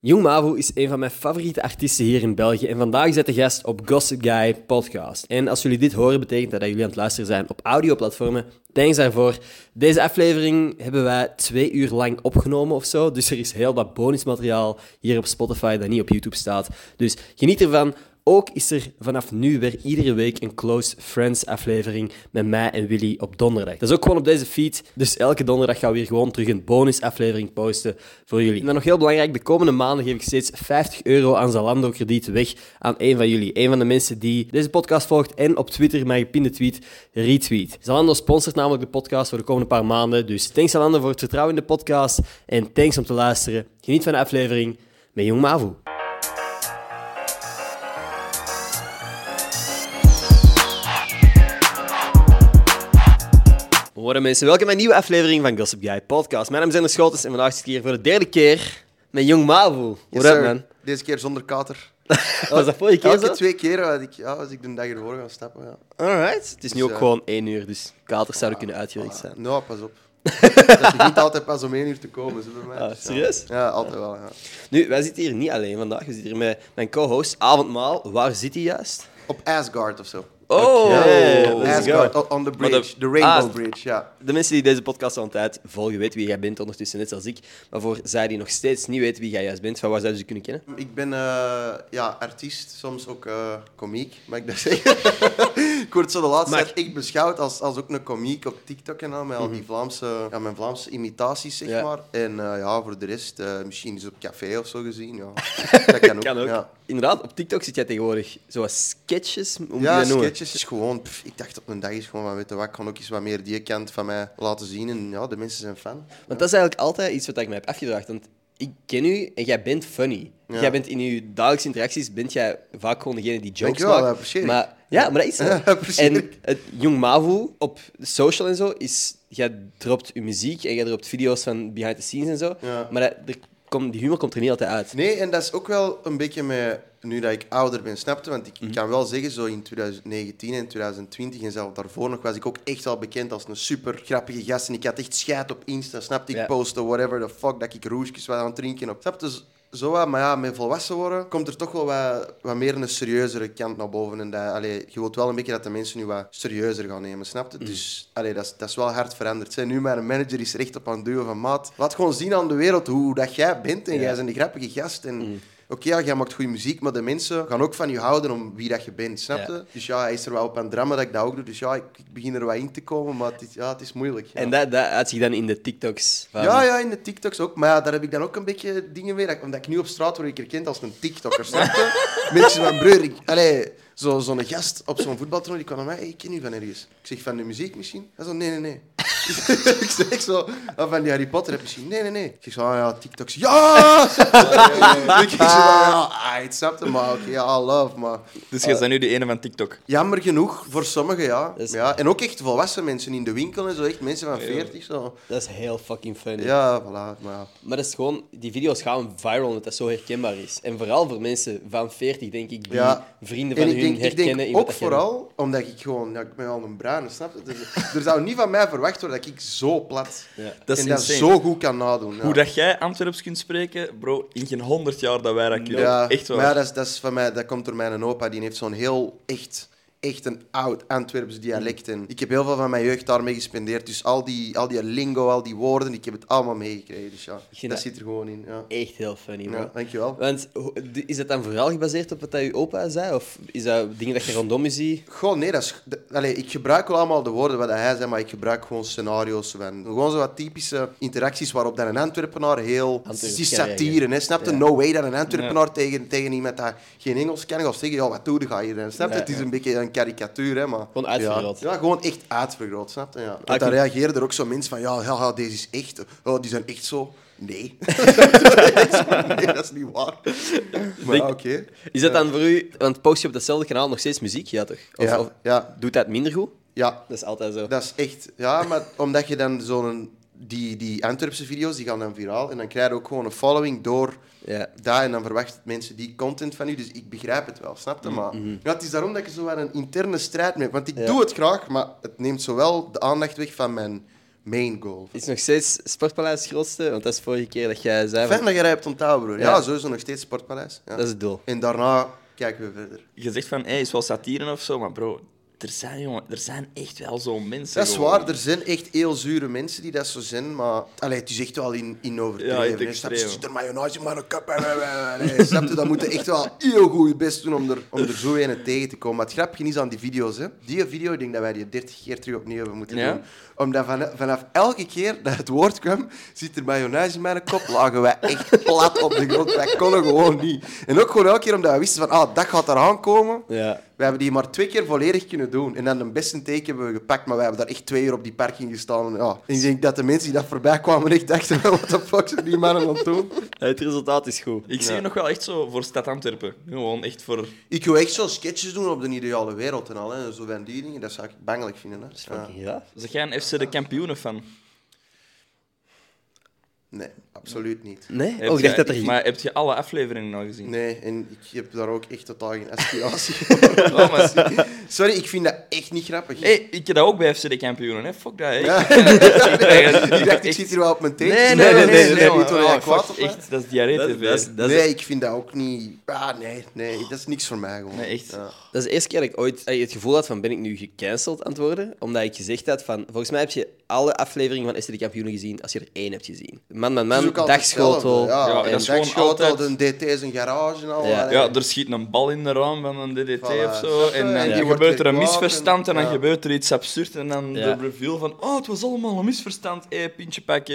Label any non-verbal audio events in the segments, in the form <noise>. Jong Mavo is een van mijn favoriete artiesten hier in België en vandaag zit de gast op Gossip Guy Podcast. En als jullie dit horen, betekent dat dat jullie aan het luisteren zijn op audioplatformen. Thanks daarvoor. Deze aflevering hebben wij twee uur lang opgenomen of zo, dus er is heel wat bonusmateriaal hier op Spotify dat niet op YouTube staat. Dus geniet ervan. Ook is er vanaf nu weer iedere week een Close Friends aflevering met mij en Willy op donderdag. Dat is ook gewoon op deze feed. Dus elke donderdag gaan we hier gewoon terug een bonus aflevering posten voor jullie. En dan nog heel belangrijk, de komende maanden geef ik steeds 50 euro aan Zalando krediet weg aan een van jullie. Een van de mensen die deze podcast volgt en op Twitter mijn gepinde tweet retweet. Zalando sponsort namelijk de podcast voor de komende paar maanden. Dus thanks Zalando voor het vertrouwen in de podcast en thanks om te luisteren. Geniet van de aflevering met Jong Mavu. Worden mensen, welkom bij een nieuwe aflevering van Gossip Guy Podcast. Mijn naam is Ender Schotens en vandaag zit ik hier voor de derde keer met Jong Mavo. What up, sir. man? Deze keer zonder kater. Was dat vorige keer Elke zo? twee keer eh, had ik, ja, als ik de dag ervoor ga stappen. Ja. Alright. Het is nu Dus, ook eh, gewoon één uur, dus katers zouden kunnen uitgewerkt zijn. Nou, pas <laughs> op. Het is niet altijd pas om één uur te komen, zo bij mij. Ah, Dus ja. serieus? Ja, altijd wel. Ja. Nu, wij zitten hier niet alleen vandaag. We zitten hier met mijn co-host Avondmaal. Waar zit hij juist? Op Asgard of zo. Oh, let's go. Asgard, o- on the Maar de- bridge, the Rainbow Ah, Bridge, ja. De mensen die deze podcast al een tijd volgen, weten wie jij bent ondertussen, net als ik. Maar voor zij die nog steeds niet weten wie jij juist bent, van waar zouden ze je kunnen kennen? Ik ben eh, ja, artiest, soms ook eh komiek, mag ik dat <laughs> zeggen? ik word zo de laatste Mag. tijd echt beschouwd als, als ook een komiek op TikTok en al, met al die Vlaamse, ja, mijn Vlaamse imitaties, zeg Mhm. Ja. maar. En eh, ja, voor de rest, eh, misschien eens op café of zo <laughs> gezien, ja. dat kan ook. Kan ook. Ja. Inderdaad, op TikTok zit jij tegenwoordig zoals sketches, hoe moet je Ja, dat noemen? sketches is gewoon... pff, ik dacht op een dag is gewoon van, weet je wat, ik kan ook eens wat meer die kant van mij laten zien. En ja, de mensen zijn fan. Want dat is eigenlijk altijd iets wat ik me heb afgevraagd. Want ik ken u en jij bent funny. Ja. Jij bent in uw dagelijkse interacties bent jij vaak gewoon degene die jokes Dankjewel, dat maakt. apprecieer ik. maar ja, maar dat is zo. Ja, <laughs> apprecieer en ik. het Jong Mavu op social en zo is jij dropt uw muziek en jij dropt video's van behind the scenes en zo. Ja. Maar dat, er komt, die humor komt er niet altijd uit. Nee, en dat is ook wel een beetje met... Nu dat ik ouder ben, snapte, want ik ik kan wel zeggen, zo in 2019 en 2020 en zelfs daarvoor nog, was ik ook echt al bekend als een super grappige gast. En ik had echt scheid op Insta, snapte? Ik Ja. postte whatever the fuck, dat ik roesjes was aan het drinken. Op, snapte? Dus zo wat, maar ja, met volwassen worden komt er toch wel wat, wat meer een serieuzere kant naar boven. En dat, allee, je wilt wel een beetje dat de mensen nu wat serieuzer gaan nemen, snapte? Mm. Dus allee, dat, is, dat is wel hard veranderd. Zijn nu mijn manager is recht op aan het duwen van maat. Laat gewoon zien aan de wereld hoe dat jij bent. En Ja. Mm. jij bent een grappige gast. En Oké, ja, jij maakt goede muziek, maar de mensen gaan ook van je houden om wie dat je bent, snap je? Ja. Dus ja, hij is er wel op aan het drammen dat ik dat ook doe. Dus ja, ik, ik begin er wel in te komen, maar het is, ja, het is moeilijk. Ja. En dat, dat uit zich dan in de TikToks. Van, ja, ja, in de TikToks ook. Maar ja, daar heb ik dan ook een beetje dingen mee. dat ik- Omdat ik nu op straat word ik herkend als een TikToker, snap <laughs> je? Mensen van broer, ik, allee, zo, zo'n gast op zo'n voetbaltoernooi, die kwam naar mij, hey, ik ken u van ergens. Ik zeg, van de muziek misschien? Hij zo, nee, nee, <laughs> nee. ik zeg zo, "Ah, van die Harry Potter heb je misschien? Nee, nee, nee. Ik zeg zo, ah ja, <laughs> TikToks. Ja! <laughs> ik zeg zo, ja, ah, het snapte, maar oké, ja, I love, maar... Dus Eh, jij bent nu de ene van TikTok. Jammer genoeg, voor sommigen, ja. Dat is- ja. En ook echt volwassen mensen in de winkel en zo, echt mensen van 40, zo. Dat is heel fucking funny. Ja, voilà, maar... ja. Maar dat is gewoon, die video's gaan viral omdat dat zo herkenbaar is. En vooral voor mensen van 40, denk ik, die Ja. vrienden En van ik hun denk, ik herkennen. denk in wat ook dat jij vooral omdat ik gewoon, ja, ik ben al een bruine, snap je? Dus, er zou niet van mij verwacht worden dat ik zo plat Ja. Dat is en dat insane. zo goed kan nadoen. Ja. Hoe dat jij Antwerps kunt spreken, bro, in geen honderd jaar dat wij dat kunnen. ja, Echt waar. Maar ja, dat, is, dat, is van mij, dat komt door mijn opa, die heeft zo'n heel echt, echt een oud Antwerps dialect. En ik heb heel veel van mijn jeugd daarmee gespendeerd, dus al die, al die lingo, al die woorden, ik heb het allemaal meegekregen. Dus ja, vind dat, dat- zit er gewoon in. Ja, Echt heel funny, man. ja dankjewel. Want ho- d- is dat dan vooral gebaseerd op wat dat je opa zei? Of is dat dingen dat je rondom je ziet? Goh, nee, dat is... dat- allee, ik gebruik wel allemaal de woorden wat hij zei, maar ik gebruik gewoon scenario's. En gewoon zo wat typische interacties waarop dan een Antwerpenaar heel... Het is die kan satire, reageren. hè. Snap je? Ja. No way dat een Antwerpenaar tegen, tegen iemand dat geen Engels kan gaat zeggen, ja, wat doe je ga hier? En Snap je? Ja, het is een beetje een karikatuur, hè, maar... Gewoon uitvergroot. Ja, ja gewoon echt uitvergroot, snap je? Ja. ik Want dan vind- reageren er ook zo mensen van, ja, ja, ja, deze is echt... Oh, die zijn echt <laughs> zo... Nee. <laughs> nee, dat is niet waar. Maar ja, oké. Is dat dan voor u, want post je op datzelfde kanaal nog steeds muziek? Ja, toch? Of, Ja, of ja. doet dat minder goed? Ja, Dat is altijd zo. Dat is echt... Ja, maar omdat je dan zo'n... Die, die Antwerpse video's die gaan dan viraal. En dan krijg je ook gewoon een following door Ja. dat. En dan verwachten mensen die content van u. Dus ik begrijp het wel, snap je? Maar ja, het is daarom dat ik zo wat een interne strijd mee heb. Want ik Mm, mm-hmm. Ja. doe het graag, maar het neemt zowel de aandacht weg van mijn main goal. Is nog steeds Sportpaleis grootste? Want dat is vorige keer dat jij zei... van- Fijn dat je rijpt onthouden, broer. Ja. Ja. sowieso nog steeds Sportpaleis. Ja. Dat is het doel. En daarna kijken we verder. Je zegt van, hé, is wel satire of zo, maar bro, er zijn, jongen, er zijn echt wel zo'n mensen. Dat is gewoon. waar, er zijn echt heel zure mensen die dat zo zijn, maar allee, het is echt wel in, in overdreven. Ja, in hè. het Snap je? extreme. Ze zitten mayonaise in mijn cup. en- en- en- allee, eh, Snap je, dat moeten echt wel heel goed je best doen om er, om er zo een tegen te komen. Maar het grapje is aan die video's. Hè. Die video, ik denk dat wij die 30 keer terug opnieuw hebben moeten Ja? doen. Omdat van, vanaf elke keer dat het woord kwam, zit er mayonaise in mijn kop, lagen wij echt plat op de grond. Wij konden gewoon niet. En ook gewoon elke keer omdat we wisten van, ah, dat gaat eraan komen. Ja. <laughs> We hebben die maar twee keer volledig kunnen doen. En dan een beste teken hebben we gepakt, maar we hebben daar echt twee uur op die parking gestaan. En Ja. En ik denk dat de mensen die dat voorbij kwamen echt dachten, <laughs> wat de fuck zijn die mannen aan het doen? Het resultaat is goed. Ik zie je nog wel echt zo voor Stad Antwerpen. Gewoon echt voor... Ik wil echt zo sketches doen op de ideale wereld en al. Hè. Zo van die dingen, dat zou ik bangelijk vinden. Hè. Ja. Ja. Ze gaan FC de kampioenen Oh, van. Nee, absoluut niet. Nee? Oh, ik dacht dat er... Maar heb je alle afleveringen al gezien? Nee, en ik heb daar ook echt totaal geen aspiratie <laughs> Oh, maar- Sorry, ik vind dat echt niet grappig. Hé, ik heb dat ook bij FC de kampioenen, hè? Fuck dat, hè? <laughs> Ja. <laughs> ik dacht, ik zit hier wel op mijn teentjes. Nee, nee, maar nee, nee, nee, niet nee, man. omdat jij Oh, kwaad fuck, op bent. echt, dat is diarree Dat- TV. dat is- dat is- nee, ik vind dat ook niet. Ah, nee, nee, dat is niks voor mij gewoon. Nee, echt. Ja. Dat is de eerste keer dat ik ooit eh, het gevoel had van ben ik nu gecanceld aan het worden? Omdat ik gezegd had van, volgens mij heb je alle afleveringen van SD de Kampioenen gezien als je er één hebt gezien. Man, man, Het is man, ook altijd dagschotel. hetzelfde, Ja, Ja, en dat is gewoon dagschotel, altijd- de DT is een garage en al. Ja. allee. Ja, er schiet een bal in de raam van een DDT Eh. Voilà. of zo. En dan En die wordt gebeurt er een weer kwaad misverstand en dan en- ja. gebeurt er iets absurd. En dan Ja. de reveal van, oh, het was allemaal een misverstand. Hé, pintje <laughs> pakken.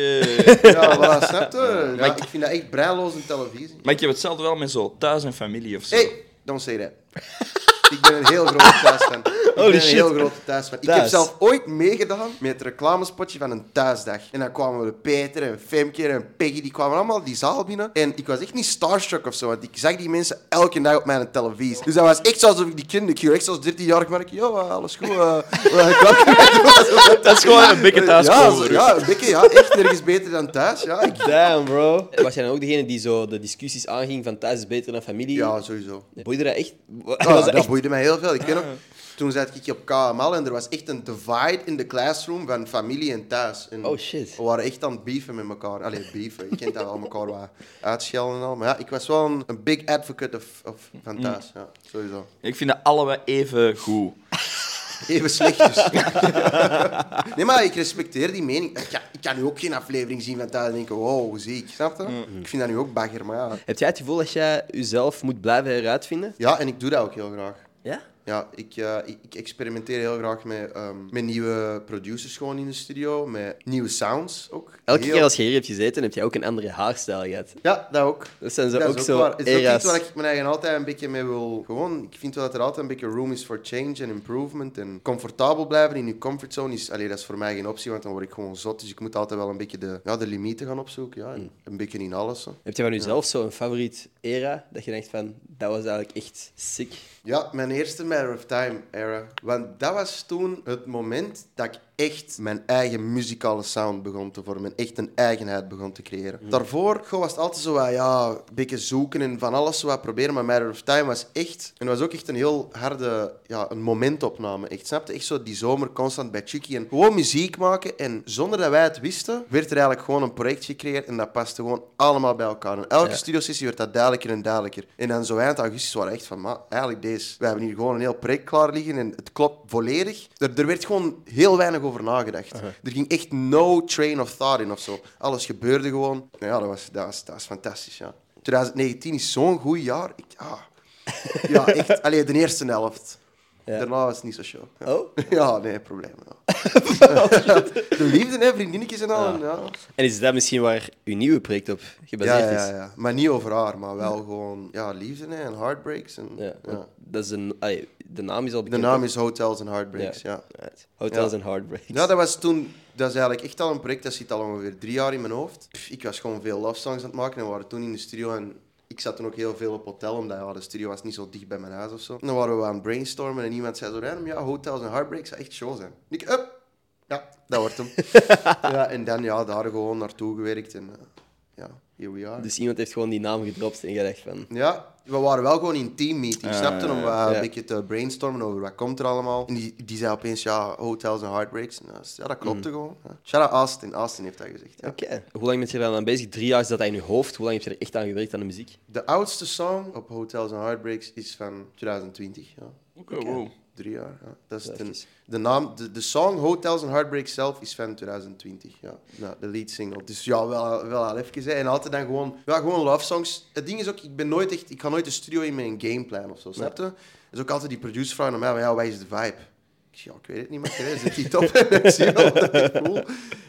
Ja, voilà, snap je? Ja, <laughs> Maar ik- ik vind dat echt breinloze televisie. maar ik heb hetzelfde wel met zo thuis en familie of zo. Hé, hey, don't say that. <laughs> ik ben een heel grote <laughs> thuisfan. Ik ben een shit. heel grote thuisfan. Ik heb Thuis. zelf ooit meegedaan met het reclamespotje van een thuisdag. En dan kwamen we Peter en Femke en Peggy, die kwamen allemaal die zaal binnen. En ik was echt niet starstruck of zo, want ik zag die mensen elke dag op mijn televisie. Dus dat was echt zoals ik die kinderen, ik ging echt zoals 13-jarig, maar ik, ja, eh, alles goed. <laughs> eh, eh, ik kwam- Dat is gewoon een beetje thuis ja, zo- ja, een beetje, ja, echt nergens beter dan thuis. Ja, ik- Damn, bro. Was jij dan ook degene die zo de discussies aanging van thuis is beter dan familie? ja sowieso. Boeide dat echt? Was Ja, Ah, <laughs> dat dat echt... boeide mij heel veel. Ik weet nog, toen zat ik op KML en er was echt een divide in de classroom van familie en thuis. En Oh, shit. We waren echt aan het beefen met elkaar. Allee, beefen. Je kent dat wel, elkaar wat uitschelden en al. Maar ja, ik was wel een, een big advocate of, of, Mm. van thuis. Ja, sowieso. Ik vind dat allebei even goed. Even slecht dus. <laughs> nee, maar ik respecteer die mening. Ik kan, ik kan nu ook geen aflevering zien van thuis en denken, wow, hoe zie ik. Snap je? Mm. Ik vind dat nu ook bagger, maar ja. Heb jij het gevoel dat jij jezelf moet blijven heruitvinden? Ja, en ik doe dat ook heel graag. Ja? Ja, ik, eh, ik, ik experimenteer heel graag met, ehm, met nieuwe producers gewoon in de studio, met nieuwe sounds ook. Elke Heel- keer als je hier hebt gezeten, heb jij ook een andere haarstijl gehad. Ja, dat ook. Dat zijn ze Dat is ook, zo waar. Het is ook iets era's. waar ik mijn eigen altijd een beetje mee wil... Gewoon, ik vind wel dat er altijd een beetje room is voor change en improvement. En comfortabel blijven in je comfortzone is... Allee, dat is voor mij geen optie, want dan word ik gewoon zot. Dus ik moet altijd wel een beetje de, ja, de limieten gaan opzoeken. Ja, Hmm. en een beetje in alles. Hè. Heb je van jezelf zo'n favoriet era dat je denkt van, dat was eigenlijk echt sick? Ja, mijn eerste Matter of Time era. Want dat was toen het moment dat ik echt mijn eigen muzikale sound begon te vormen. Echt een eigenheid begon te creëren. Daarvoor goh, was het altijd zo wat, ja, een beetje zoeken en van alles zo wat proberen. Maar Matter of Time was echt... En was ook echt een heel harde ja, een momentopname. Echt, snapte? Echt zo die zomer constant bij Chucky. En gewoon muziek maken. En zonder dat wij het wisten, werd er eigenlijk gewoon een project gecreëerd. En dat paste gewoon allemaal bij elkaar. En elke Ja. studiosessie werd dat duidelijker en duidelijker. En dan zo eind augustus waren we echt van, maar eigenlijk deze. We hebben hier gewoon een heel project klaar liggen en het klopt volledig. Er, er werd gewoon heel weinig over nagedacht. Er ging echt no train of thought in of zo. Alles gebeurde gewoon. Nou ja, dat was, dat was, dat was fantastisch, ja. 2019 is zo'n goed jaar. Ik, ah. Ja, echt. Alleen de eerste helft. Ja. Daarna was het niet zo show. Ja. Oh? <laughs> Ja, nee, probleem. Ja. de liefde, hè, vriendinnetjes en al. en ja. En is dat misschien waar je nieuwe project op Ja, gebaseerd ja, is? ja. Maar niet over haar, maar wel gewoon ja, liefde hè, en heartbreaks. En, Ja, want ja. Dat is een, allee, de naam is al De bekend. naam is Hotels and Heartbreaks, ja. ja. Right. Hotels Ja. and Heartbreaks. dat was toen... Dat is eigenlijk echt al een project, dat zit al ongeveer drie jaar in mijn hoofd. Pff, ik was gewoon veel love songs aan het maken en we waren toen in de studio en... Ik zat toen ook heel veel op hotel, omdat ja, de studio was niet zo dicht bij mijn huis of zo. En dan waren we aan het brainstormen en iemand zei zo random, ja, Hotels and Heartbreaks zou echt show zijn. En ik, up! Ja, dat wordt hem. ja, en dan ja, daar gewoon naartoe gewerkt en eh, ja. Here we are. Dus iemand heeft gewoon die naam gedropt en je dacht van... Ja, we waren wel gewoon in teammeeting, snapte? Om eh, Ah, ja. een beetje te brainstormen over wat komt er allemaal. En die, die zei opeens, ja, hotels en heartbreaks. Nou, ja, Mm. dat klopte gewoon. Ja. Shout-out Austin. Austin heeft dat gezegd. Ja. Oké. Hoe lang ben je daar dan aan bezig? Drie jaar is dat in je hoofd. Hoe lang heb je er echt aan gewerkt aan de muziek? De oudste song op hotels en heartbreaks is van 2020. Ja. Oké, Oh, wow. Drie jaar. Ja. Dat is Ja, de, precies. de, naam, de, de song Hotels and Heartbreak zelf is van 2020. Ja. Nou, de lead single. Dus ja, wel, wel al even. Hè. En altijd dan gewoon, ja, gewoon love songs. Het ding is ook, ik, ben nooit echt, ik ga nooit de studio in met een gameplan of zo. Snap je? Dus ook altijd die producer vraagt naar mij: van, ja, wat is de vibe? Ik zeg, ja, ik weet het niet, maar hè, zit die top? <laughs> ik zie wel dat ik voel.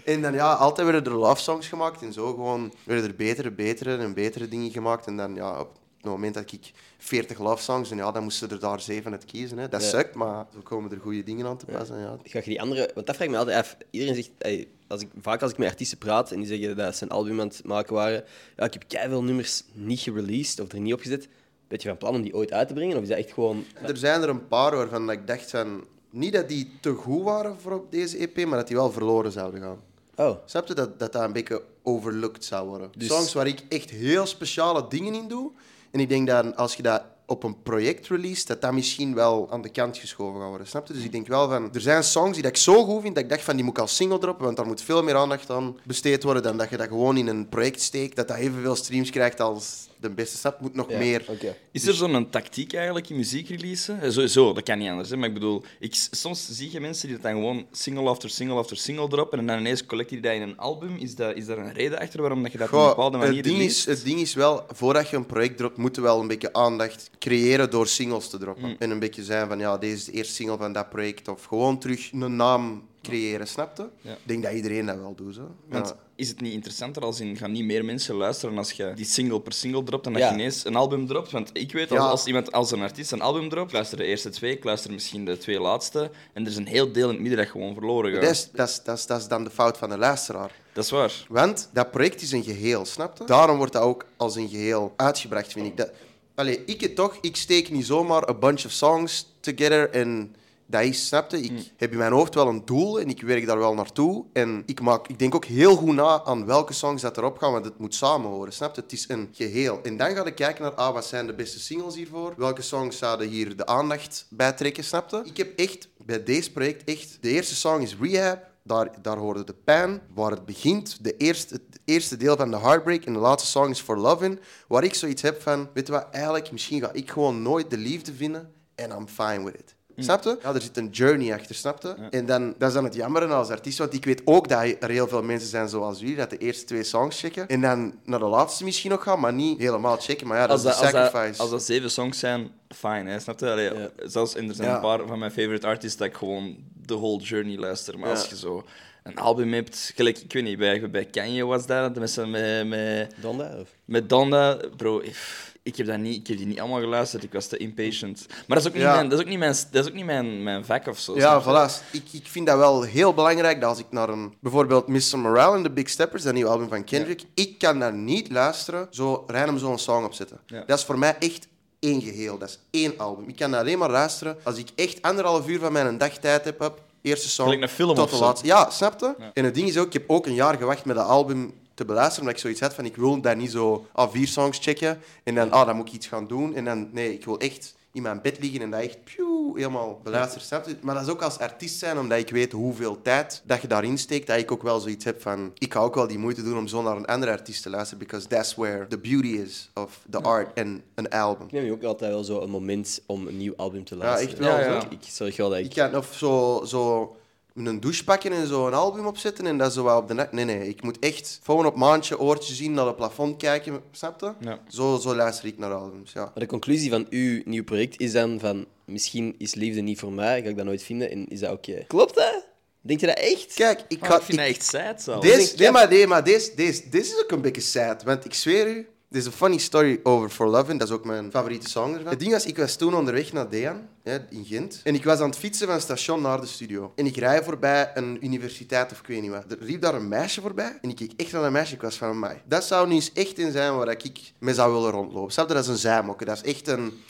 En dan ja, altijd werden er love songs gemaakt en zo gewoon werden er betere, betere en betere dingen gemaakt. En dan ja, op het moment dat ik 40 love songs en ja, dan moesten er daar zeven uit kiezen. Hè. Dat Ja. sukt, maar zo komen er goede dingen aan te passen. Ja. Ga je die andere... Want dat vraag ik me altijd af. Iedereen zegt... ey, als ik, vaak als ik met artiesten praat en die zeggen dat ze een album aan het maken waren... Ja, ik heb keiveel nummers niet gereleased of er niet opgezet. Ben je van plan om die ooit uit te brengen? Of is dat echt gewoon... Er zijn er een paar waarvan dat ik dacht van, niet dat die te goed waren voor op deze EP, maar dat die wel verloren zouden gaan. Oh. Snap je dat dat, dat een beetje overlooked zou worden? Dus- Songs waar ik echt heel speciale dingen in doe. En ik denk dat als je dat op een project release, dat dat misschien wel aan de kant geschoven gaat worden. Snap je? Dus ik denk wel van, er zijn songs die dat ik zo goed vind, dat ik dacht van, die moet ik als single droppen, want daar moet veel meer aandacht aan besteed worden dan dat je dat gewoon in een project steekt, dat dat evenveel streams krijgt als de beste. Snap je? moet nog Ja, meer. Oké. Is er zo'n tactiek eigenlijk in muziek releasen? Eh, Sowieso, dat kan niet anders. Hè? Maar ik bedoel, ik, soms zie je mensen die dat dan gewoon single after single after single droppen en dan ineens collecten die dat in een album. Is, dat, is daar een reden achter waarom dat je dat op een Goh, bepaalde manier het, ding is, release? het ding is wel, voordat je een project dropt, moet je wel een beetje aandacht creëren door singles te Mm. droppen. En een beetje zijn van, ja, deze is de eerste single van dat project. Of gewoon terug een naam creëren, snapte? Ja. Ik denk dat iedereen dat wel doet, zo. Want Ja. is het niet interessanter als in gaan niet meer mensen luisteren als je die single per single dropt dan dat Ja. je ineens een album dropt? Want ik weet, als, Ja. als iemand als een artiest een album dropt, luister de eerste twee, ik luister misschien de twee laatste. En er is een heel deel in het midden dat gewoon verloren gaat. Dat is, dat, is, dat, is, dat is dan de fout van de luisteraar. Dat is waar. Want dat project is een geheel, snapte? Daarom wordt dat ook als een geheel uitgebracht, vind ik. Dat, allee, ik het toch, ik steek niet zomaar een bunch of songs together en dat is, snapte? Ik heb in mijn hoofd wel een doel en ik werk daar wel naartoe. En ik, maak, ik denk ook heel goed na aan welke songs dat erop gaan, want het moet samen horen, snapte? Het is een geheel. En dan ga ik kijken naar, ah, wat zijn de beste singles hiervoor? Welke songs zouden hier de aandacht bij trekken, snapte? Ik heb echt, bij deze project echt, de eerste song is Rehab. Daar, daar hoorde de pijn, waar het begint. De eerste, het eerste deel van de Heartbreak en de laatste song is For Lovin'. Waar ik zoiets heb van, weet je wat, eigenlijk, misschien ga ik gewoon nooit de liefde vinden. En I'm fine with it. Mm. Snap je? Ja, er zit een journey achter, snap je? En dan, dat is dan het jammeren als artiest, want ik weet ook dat er heel veel mensen zijn zoals jullie, dat de eerste twee songs checken en dan naar de laatste misschien nog gaan, maar niet helemaal checken. Maar ja, dat Als dat, is de als, dat, sacrifice. als dat zeven songs zijn, fijn, hè? snap je? Allee, Ja. Zelfs, en er zijn Ja. een paar van mijn favorite artists dat ik gewoon de whole journey luister. Maar Ja. als je zo een album hebt, gelijk, ik weet niet, bij, bij Kanye was dat, de mensen met, met, Donda? Of? met Donda, bro, ik- ik heb, dat niet, ik heb die niet allemaal geluisterd, ik was te impatient. Maar dat is ook niet, Ja. mijn, dat is ook niet, mijn, dat is ook niet mijn, mijn vak of zo. Ja, snap je? voilà. Ik, ik vind dat wel heel belangrijk dat als ik naar een... Bijvoorbeeld Mr. Morale en The Big Steppers, dat nieuwe album van Kendrick. Ik kan daar niet luisteren, zo random zo'n song opzetten. Ja. Dat is voor mij echt één geheel. Dat is één album. Ik kan daar alleen maar luisteren als ik echt anderhalf uur van mijn dag tijd heb. Hop, eerste song Gelijk een film tot of de zo. laatste. Ja, snapte? En het ding is ook, ik heb ook een jaar gewacht met dat album te beluisteren, omdat ik zoiets had van, ik wil dat niet zo, ah, vier songs checken, en dan, ah, dan moet ik iets gaan doen, en dan, nee, ik wil echt in mijn bed liggen en dat echt, pieuw, helemaal beluisteren, snap je? Maar dat is ook als artiest zijn, omdat ik weet hoeveel tijd dat je daarin steekt, dat ik ook wel zoiets heb van, ik ga ook wel die moeite doen om zo naar een andere artiest te luisteren, because that's where the beauty is of the art and an album. Ik neem je ook altijd wel zo een moment om een nieuw album te luisteren. echt wel, Ja, ja. zo. Ik, ik zorg wel dat ik... Ik kan of zo, zo een douche pakken en zo een album opzetten en dat zo wat op de nacht. Nee, nee, ik moet echt gewoon op maandje oortje zien, naar het plafond kijken, snap je? Ja. Zo, zo luister ik naar albums, ja. Maar de conclusie van uw nieuw project is dan van... Misschien is liefde niet voor mij, ga ik dat nooit vinden en is dat oké? Klopt dat? Denk je dat echt? Kijk, ik Maar ga... Oh, ik vind ik- dat echt sad, zelfs. Deze, nee, maar, nee, maar deze, deze, deze is ook een beetje sad. Want ik zweer u, dit is een funny story over For Lovin'. Dat is ook mijn favoriete song ervan. Het ding was, ik was toen onderweg naar Dean, hè, in Gent. En ik was aan het fietsen van het station naar de studio. En ik rij voorbij een universiteit of ik weet niet wat. Er liep daar een meisje voorbij. En ik keek echt naar dat meisje. Ik was van, <laughs> mij. dat zou nu eens echt in zijn waar ik mee zou willen rondlopen. Snap je? Dat is een zijmokken. Dat is echt een...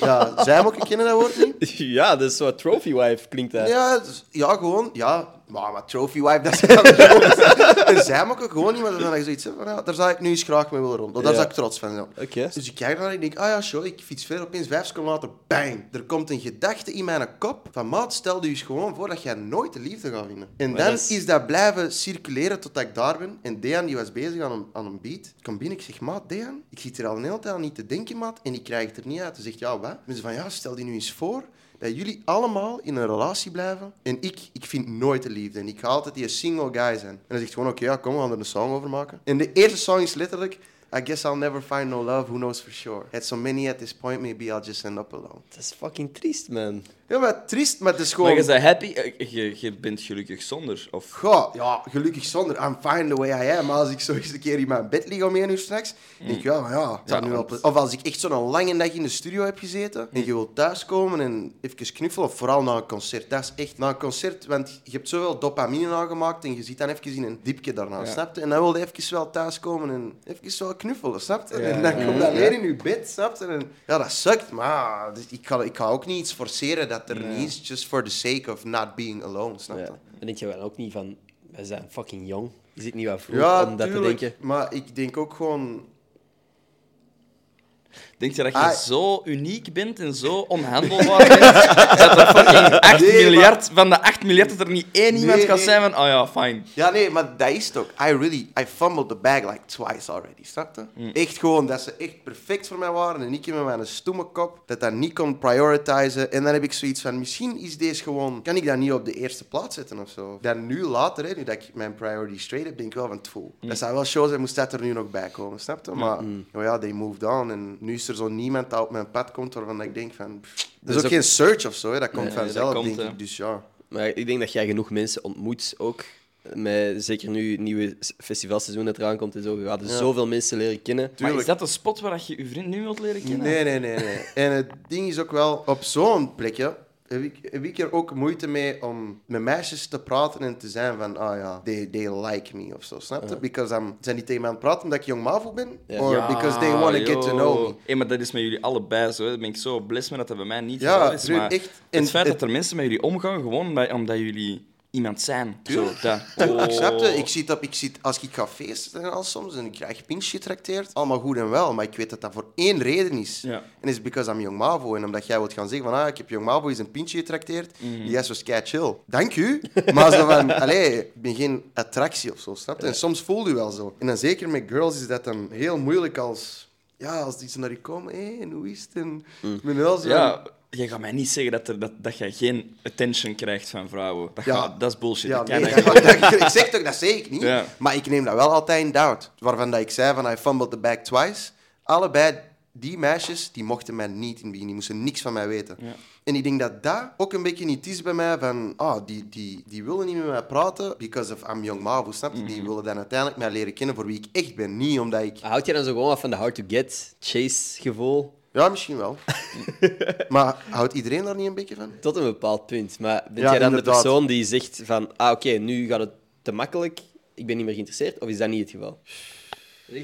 Ja, zijmokken kennen dat woord niet? <laughs> ja, dat is zo'n trophy wife, klinkt dat. Ja, dus- ja gewoon, ja. Maar, maar trophy wife, dat is gewoon- En zijmokken gewoon niet, maar dan heb ik zoiets hè, van, ja, daar zou ik nu eens graag mee willen rond. Daar Ja. zou ik trots van zijn. Oké. Dus ik kijk naar en ik denk, ah ja, show, ik fiets verder. Opeens vijf seconden later, bang. Er komt een gedachte in mijn kop van, maat, stel je eens gewoon voor dat jij nooit de liefde gaat vinden. En Maar dan dat is- is... dat blijven circuleren totdat ik daar ben. En Dean die was bezig aan een, aan een beat. Ik kom binnen, ik zeg, maat, Dean, ik zit er al een hele tijd aan niet te denken, maat. En ik krijg het er niet uit. Hij zegt, ja, wat? Mensen van, ja, stel die nu eens voor dat jullie allemaal in een relatie blijven. En ik, ik vind nooit de liefde. En ik ga altijd die single guy zijn. En hij zegt gewoon, oké, ja, kom, we gaan er een song over maken. En de eerste song is letterlijk... I guess I'll never find no love, who knows for sure. Had so many at this point, maybe I'll just end up alone. Dat is fucking triest, man. Ja, maar triest, maar het is Maar gewoon... je zei happy, eh, je, je bent gelukkig zonder. Of... Goh, ja, gelukkig zonder. I'm fine the way I am. Maar als ik zo eens een keer in mijn bed lig om één uur straks, denk ik, ja, maar ja, het zou Mm. Ja, nu wel want- ple- Of als ik echt zo'n lange dag in de studio heb gezeten en je wilt thuiskomen en even knuffelen, of vooral na een concert. Dat is echt na een concert, want je hebt zoveel dopamine aangemaakt en je zit dan even in een diepje daarna, Ja. snap je? En dan wil je even wel thuiskomen en even wel knuffelen, snap je? Ja. En dan komt dat weer in je bed, snap je? En ja, dat sukt, maar dus ik ga, ik ga ook niet iets forceren dat er niet is, just for the sake of not being alone, snap je? Ja. Nou, Dan denk je wel ook niet van, wij zijn fucking jong. Je zit niet wat vroeg Ja, om dat tuurlijk, te denken. Maar ik denk ook gewoon. Denk je dat je Ah. zo uniek bent en zo onhandelbaar bent, <laughs> dat er fucking 8 Nee, maar- miljard, van de 8 miljard, dat er niet één iemand Nee, gaat nee. zijn van, oh ja, fijn. Ja, nee, maar dat is het ook. I really. I fumbled the bag like twice already, snap je? Echt gewoon dat ze echt perfect voor mij waren en ik met mijn stomme kop dat dat niet kon prioritizen. En dan heb ik zoiets van: misschien is deze gewoon. Kan ik dat niet op de eerste plaats zetten of zo? Dan nu later, hè, nu dat ik mijn priority straight heb, denk ik wel van het voel. Dat zijn wel shows en moest dat er nu nog bij komen, snap je? Maar oh ja, they moved on. En nu is er zo niemand dat op mijn pad komt waarvan ik denk van. pff, dat is is ook, ook- geen search of zo, hè, dat komt Nee, nee, dat vanzelf, komt, denk hè. ik. Dus ja. Maar ik denk dat jij genoeg mensen ontmoet ook. eh, Met, zeker nu het nieuwe s- festivalseizoen dat eraan komt en zo. Je gaat er zoveel mensen leren kennen. Maar is Tuurlijk. dat de spot waar je je vriend nu wilt leren kennen? Nee, nee, nee, nee. En het ding is ook wel, op zo'n plekje heb ik, heb ik er ook moeite mee om met meisjes te praten en te zijn van, ah ja, they, they like me of zo, snap je? Because I'm, zijn niet tegen mij aan het praten omdat ik jong mavo ben, Ja. or Ja, because they want to get to Ah, joh. know me. Hé, maar dat is met jullie allebei zo. hè. Daar ben ik zo blij mee dat dat bij mij niet Ja, zo is. broer, Maar echt. En het feit het- dat er mensen met jullie omgaan, gewoon omdat, omdat jullie iemand zijn. Zo, Tuurlijk. dat. <laughs> Ik snap het. Ik zit op, ik zit, als ik ga feesten en al soms en ik krijg pintjes getrakteerd, allemaal goed en wel, maar ik weet dat dat voor één reden is. Ja. En is because I'm Young Mavo. En omdat jij wilt gaan zeggen van, ah, ik heb Young Mavo eens een pintje getrakteerd, Mhm. die is zo sky chill. Dank u. Maar zo van, <laughs> allee, ik ben geen attractie of zo, snap je? En soms voel je wel zo. En dan zeker met girls is dat dan heel moeilijk als... Ja, als die ze naar je komen, hé, en hoe is het? En ik ben wel zo van- Mm. Ja, jij gaat mij niet zeggen dat, er, dat, dat jij geen attention krijgt van vrouwen. Dat, Ja. gaat- dat is bullshit. Ja, dat kan nee, eigenlijk dat- dat- ik zeg toch, dat zeg ik niet. Ja. Maar ik neem dat wel altijd in doubt. Waarvan dat ik zei van, I fumbled the bag twice. Allebei die meisjes, die mochten mij niet in het begin. Die moesten niks van mij weten. Ja. En ik denk dat dat ook een beetje niet is bij mij van, ah, die, die, die willen niet met mij praten because of I'm young mavo, snap je? Die willen dan uiteindelijk mij leren kennen voor wie ik echt ben. Niet omdat ik... Houd je dan zo gewoon af van de hard to get, chase gevoel? Ja, misschien wel. <laughs> maar houdt iedereen daar niet een beetje van? Tot een bepaald punt. Maar ben Ja, jij dan inderdaad. de persoon die zegt van, ah oké, nu gaat het te makkelijk, ik ben niet meer geïnteresseerd? Of is dat niet het geval?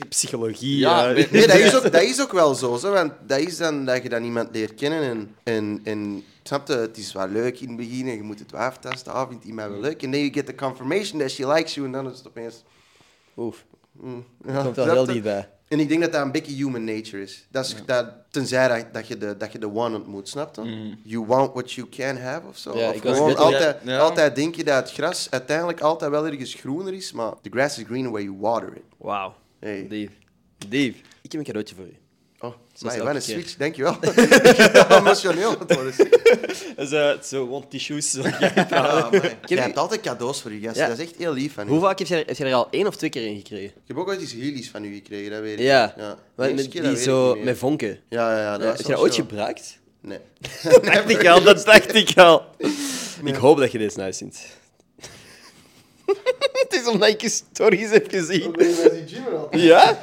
Psychologie. Ja, eh. ben- Nee, dat is ook, dat is ook wel zo. zo, want dat is dan dat je dan iemand leert kennen. En, en, en snap je, het is wel leuk in het begin. En je moet het wel aftasten. Ah, vindt iemand wel leuk? En then you get the confirmation that she likes you. En dan is het opeens... Oef, Mm, ja, dat komt wel snap heel je? dichtbij. En ik denk dat dat een beetje human nature is. Dat is dat, tenzij dat, dat, je de, dat je de one ontmoet, snap je? You want what you can have of zo. Ja, of ik was gewoon net al- altijd, Ja. altijd denk je dat het gras uiteindelijk altijd wel ergens groener is. Maar the grass is greener where you water it. Wauw. Hey. Dief. Dief. Ik heb een cadeautje voor u. Oh, is mij, elke wat een keer. switch, <laughs> dankjewel. <laughs> ik ben emotioneel aan het worden. Dat is eh, zo, want tissues. Ja, Jij Ken je- hebt altijd cadeaus voor je gasten, Ah, Ja. dat is echt heel lief van <laughs> u. Hoe vaak heb je, er, heb je er al één of twee keer in gekregen? Ik heb ook ooit iets helies van u gekregen, dat weet ik. Ja. ja. Wat, Eerste met keer, die dat weet zo ik niet meer. met vonken. Ja, ja, ja. Dat heb was je dat wel ooit zo. gebruikt? Nee. Dat dacht ik al, <laughs> dat dacht ik al. Ik hoop dat je deze nice vindt. <laughs> Het is omdat ik je stories heb gezien. Ja?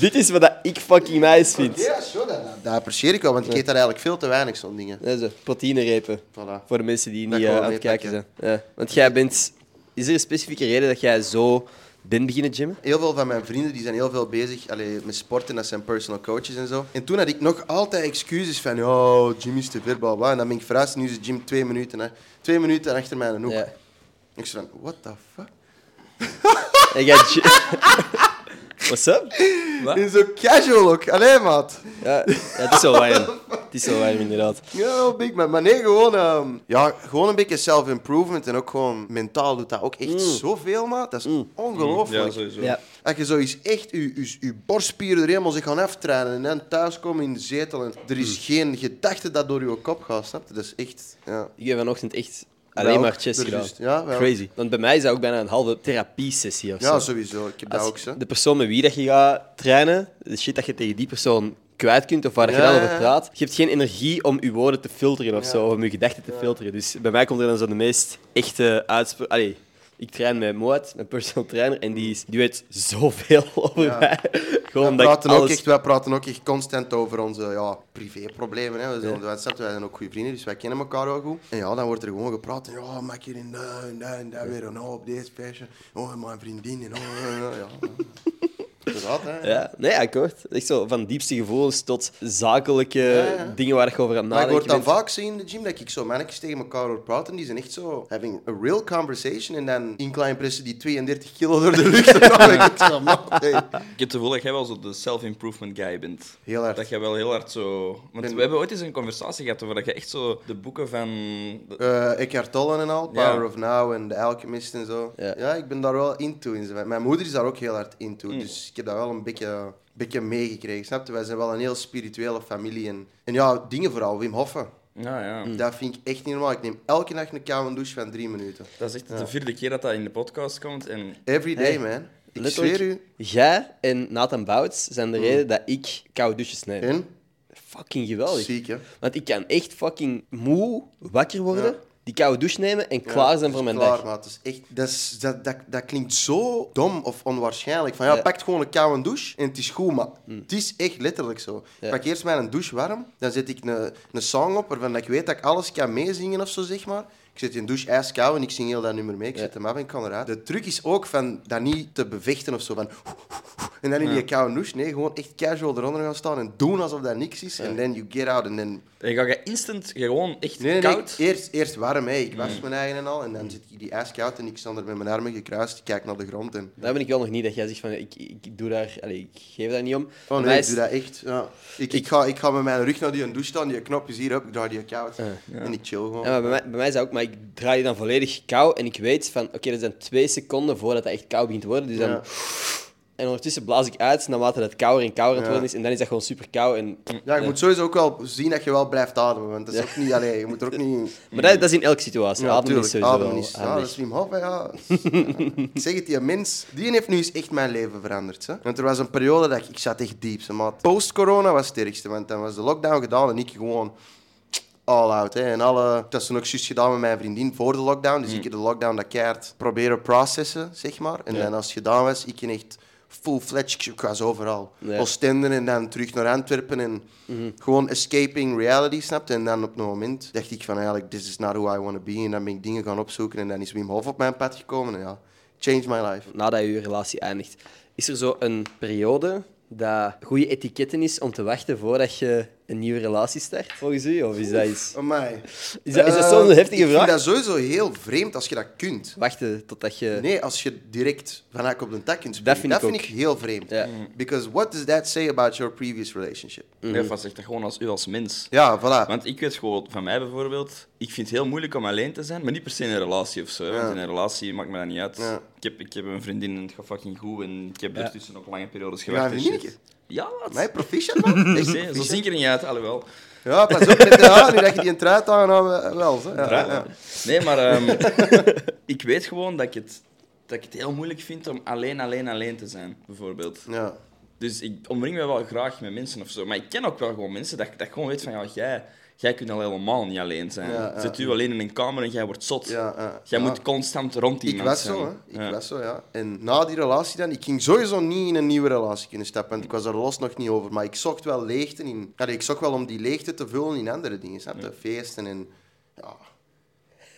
Dit is wat dat ik fucking nice vind. Ja, zo, dat, dat- dat apprecieer ik wel, want ik eet daar eigenlijk veel te weinig, zo'n dingen. Dat is een proteïnerepen. Voilà. Voor de mensen die Dat niet kan eh, wel aan het kijken zijn. meepakken. Ja. Want jij bent... Is er een specifieke reden dat jij zo ben beginnen gymmen. Heel veel van mijn vrienden die zijn heel veel bezig allee, met sporten, dat zijn personal coaches en zo. En toen had ik nog altijd excuses van, oh, gym is te ver, bla bla. En dan ben ik verhuisd, nu is de gym twee minuten, hè. twee minuten achter mij in een hoek. Ja. Ik zei van, what the fuck? En <laughs> jij gy- What's up? Wat? En zo casual ook, alleen maat. Ja, ja, het is wel warm. Het is wel warm, inderdaad. Ja, big man. Maar nee, gewoon, ehm, ja, gewoon een beetje self-improvement en ook gewoon mentaal doet dat ook echt zoveel, maat. Dat is ongelooflijk. Ja, sowieso. Ja. Als je zo eens echt je, je, je borstspieren er helemaal zich gaan aftrainen en dan thuiskomen in de zetel en er is geen gedachte dat door je kop gaat, snap je? Dat is echt, ja. Ik heb vanochtend echt Wij alleen ook, maar chest er gedaan. juist. Ja, wij ook. Crazy. Want bij mij is dat ook bijna een halve therapie-sessie of zo. Ja, sowieso. Ik heb dat Als ook, zo. De persoon met wie dat je gaat trainen, de shit dat je tegen die persoon kwijt kunt of waar dat je Ja, dan ja, over ja. praat, je hebt geen energie om je woorden te filteren of zo, om je gedachten te filteren. Dus bij mij komt er dan zo de meest echte uitspraak. Allee, ik train met Moat, mijn personal trainer, en die, is, die weet zoveel <laughs> over mij. Gewoon Wij omdat ik praten, ook alles... echt, wij praten ook echt constant over onze ja, privéproblemen. Hè. We zijn, wij, snap je, wij zijn ook goede vrienden, dus wij kennen elkaar wel goed. En ja, dan wordt er gewoon gepraat. En, ja, maak je in dat en dat en dat weer een hoop, deze passion. Oh, en mijn vriendin. En, oh, en, oh, <laughs> ja. Inderdaad, hè. Ja, nee, akkoord. Echt zo van diepste gevoelens tot zakelijke ja. dingen waar je over aan het Maar ik nadenken hoor dan bent. vaak zien in de gym dat ik zo mannetjes tegen elkaar hoor praten. Die zijn echt zo having a real conversation. En dan incline pressen die 32 kilo door de lucht. <laughs> En dan denk ik zo, man, hey. Ik heb het gevoel dat jij wel zo de self-improvement guy bent. Heel hard. Dat jij wel heel hard zo... Want Ben- we hebben ooit eens een conversatie gehad over dat je echt zo de boeken van... de- Eh, Eckhart Tolle en al, Ja. Power of Now en The Alchemist en zo. Ja. Ja, ik ben daar wel into. In. zo. Mijn moeder is daar ook heel hard into, Mm. dus ik heb dat wel een beetje, beetje meegekregen. Snap je? Wij zijn wel een heel spirituele familie. En, en ja, dingen vooral, Wim Hoffen. Ja, ja. Mm. Dat vind ik echt niet normaal. Ik neem elke nacht een koude douche van drie minuten. Dat is echt de vierde keer dat dat in de podcast komt. En Every day, man. Ik Letterlijk, zweer u. Mm. Jij en Nathan Bouts zijn de reden dat ik koude douches neem. En? Fucking geweldig. Ziek, hè? Want ik kan echt fucking moe wakker worden, Ja. die koude douche nemen en klaar zijn voor mijn klaar, dag. maat. Dat, is echt, dat, is- dat, dat, dat klinkt zo dom of onwaarschijnlijk. Van, ja, Ja. Mm. Pak gewoon een koude douche en het is goed, maar het is echt letterlijk zo. Ik pak eerst mijn douche warm, dan zet ik een, een song op waarvan ik weet dat ik alles kan meezingen of zo, zeg maar. Ik zet in douche ijskoud en ik zing heel dat nummer mee. Ik zet hem af en ik kan eruit. De truc is ook van dat niet te bevechten of zo. Van, en dan in die koude douche. Nee, gewoon echt casual eronder gaan staan en doen alsof dat niks is. En then you get out en then dan ga je instant gewoon echt Nee, nee, nee, koud... Eerst, eerst warm, hè. ik was mijn eigen en al. En dan zit ik die ijskoud en ik sta er met mijn armen gekruist. Ik kijk naar de grond en... Daar ben ik wel nog niet dat jij zegt van ik, ik doe daar, allee, ik geef daar niet om. Oh Mij nee, ik is- doe dat echt. Ja. Ik, ik, ga, ik ga met mijn rug naar die douche staan, die knop is hier, op, ik draai die koud. En ik chill gewoon. Eh, Ja, maar bij, mij, bij mij is dat ook, maar ik draai die dan volledig kou en ik weet van oké, dat zijn twee seconden voordat dat echt koud begint te worden. Dus dan, Ja. En ondertussen blaas ik uit naarmate dat het kouder en kouder aan het Ja. Mm, worden is en dan is dat gewoon super koud. En, Ja, je moet sowieso ook wel zien dat je wel blijft ademen, want dat is ook niet alleen. Je moet er ook <laughs> niet... Maar dat, dat is in elke situatie. mm. Ja, Ademen is tuurlijk, sowieso ademen wel is... Ja, handig. dat is Wim Hof, hè, <laughs> ja. Ik zeg het, die mens, die heeft nu eens echt mijn leven veranderd. Hè. Want er was een periode dat ik, ik zat echt diep. Zo, maat. Post-corona was het sterkste, want dan was de lockdown gedaan en ik gewoon all out. Hè. En alle, dat is toen ook juist gedaan met mijn vriendin voor de lockdown. Mm. Dus ik heb de lockdown dat keihard proberen processen, zeg maar. En dan als het gedaan was, ik ging echt full-fledged, ik was overal. Ja. Mhm. Oostende en dan terug naar Antwerpen en gewoon escaping reality, snapte. En dan op een moment dacht ik van eigenlijk, this is not who I want to be. En dan ben ik dingen gaan opzoeken en dan is Wim Hof op mijn pad gekomen. En ja, changed my life. nadat je relatie eindigt, is er zo een periode dat goede etiketten is om te wachten voordat je een nieuwe relatie start, volgens u? Of is dat iets... Oh mij. Is dat- is dat soms een heftige Eh, Ik vind vraag? dat sowieso heel vreemd als je dat kunt. Wachten totdat je... Nee, als je direct van hak op de tak kunt springen. vind Dat ik vind, ik, heel vreemd. Ja. Because what does that say about your previous relationship? Nee, vast echt dat gewoon als u als mens. Mm. Ja, voilà. Want ik weet gewoon van mij bijvoorbeeld, ik vind het heel moeilijk om alleen te zijn, maar niet per se in een relatie of zo. hè, Want in een relatie maakt me dat niet uit. Ja. Ik, heb, ik heb een vriendin en het gaat fucking goed en ik heb Ja. daartussen ook lange periodes Ja, gewerkt. en vriendinnetje. shit. Ja, wat? <laughs> Mij proficiat, man. Echt Zie je, Zo proficiat. zie ik er niet uit, alhoewel. Ja, pas op met de haar. Nu dat je die een truit aan, nou, wel. Zo. Ja, Raar, ja. hè? Nee, maar <laughs> ehm, ik weet gewoon dat ik, het, dat ik het heel moeilijk vind om alleen, alleen, alleen te zijn, bijvoorbeeld. Ja. Dus ik omring me wel graag met mensen of zo. Maar ik ken ook wel gewoon mensen dat, dat ik gewoon weet van, ja, jij, jij kunt al helemaal niet alleen zijn. Ja, ja. Zit u alleen in een kamer en jij wordt zot. Ja, ja. Jij Ja. moet constant rond Ik iemand was zijn. zo, hè. Ik Ja. was zo, ja. En na die relatie dan, ik ging sowieso niet in een nieuwe relatie kunnen stappen. Want ik was er los nog niet over. Maar ik zocht wel leegte in... Allee, ik zocht wel om die leegte te vullen in andere dingen, snap je? Feesten en... Ja.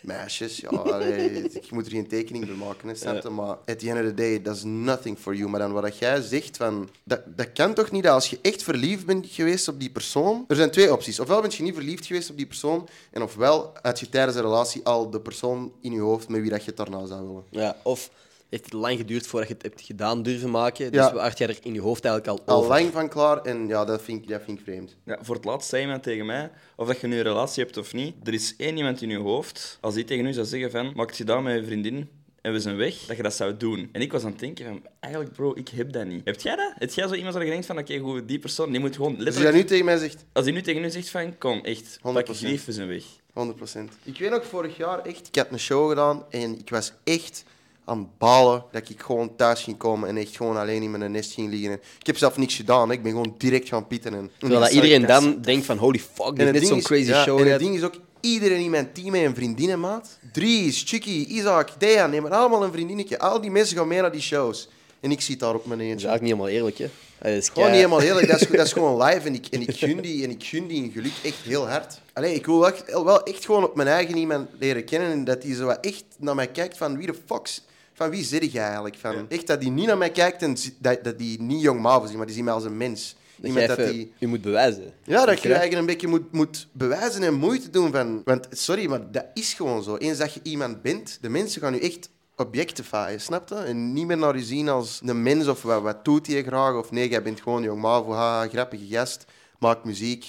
meisjes, ja, allee, ik moet er geen tekening van maken, hè, snap je? Maar at the end of the day, that's nothing for you. Maar dan wat dat jij zegt, van, dat, dat kan toch niet dat als je echt verliefd bent geweest op die persoon... Er zijn twee opties. Ofwel ben je niet verliefd geweest op die persoon, en ofwel had je tijdens een relatie al de persoon in je hoofd met wie dat je het daarna zou willen. Ja, of heeft het lang geduurd voordat je het hebt gedaan durven maken. Ja. Dus we had jij er in je hoofd eigenlijk al Al over. lang van klaar, en ja, dat vind ik, dat vind ik vreemd. Dus Ja, voor het laatst zei iemand tegen mij, of dat je nu een relatie hebt of niet, er is één iemand in je hoofd, als die tegen u zou zeggen van, maak je daar met je vriendin en we zijn weg, dat je dat zou doen. En ik was aan het denken van, eigenlijk bro, ik heb dat niet. Heb jij dat? Heb jij zo iemand waar je denkt van, oké, goed, die persoon, die moet gewoon Als je dat letterlijk... nu tegen mij zegt, Als die nu tegen u zegt van, kom, echt, pak je 100%. grief, we zijn weg. 100%. Ik weet nog vorig jaar echt, ik had een show gedaan en ik was echt aan het balen dat ik gewoon thuis ging komen en echt gewoon alleen in mijn nest ging liggen. Ik heb zelf niks gedaan, hè. ik ben gewoon direct gaan pitten. En, Terwijl dat zou ik iedereen dat- dan denkt van holy fuck, dit is net zo'n is- crazy ja, show. En hè. het ding is ook, iedereen in mijn team heeft een vriendin, hè, maat. Dries, Chucky, Isaac, Dejan, neem maar allemaal een vriendinnetje. Al die mensen gaan mee naar die shows. En ik zit daar op mijn Dat eentje. is eigenlijk niet helemaal eerlijk, hè? Dat is Gewoon kei- niet helemaal eerlijk, dat is, dat is <laughs> gewoon live en ik, en, ik gun die, en ik gun die een geluk echt heel hard. Allee, ik wil wel echt, wel echt gewoon op mijn eigen iemand leren kennen en dat die zo wat echt naar mij kijkt van wie de fuck... s- Van wie zit jij eigenlijk? Van, Echt dat die niet naar mij kijkt en zi- dat, dat die niet jong Mavo ziet, maar die ziet mij als een mens. Dat jij Iemand dat even- die... je moet bewijzen. Ja, Weet dat je je eigen een beetje moet, moet bewijzen en moeite doen van... Want sorry, maar dat is gewoon zo. Eens dat je iemand bent, de mensen gaan je echt objectifyen, snap je? En niet meer naar je zien als een mens of wat, wat doet hij graag. Of nee, jij bent gewoon jong mavo, haha, grappige gast, maakt muziek.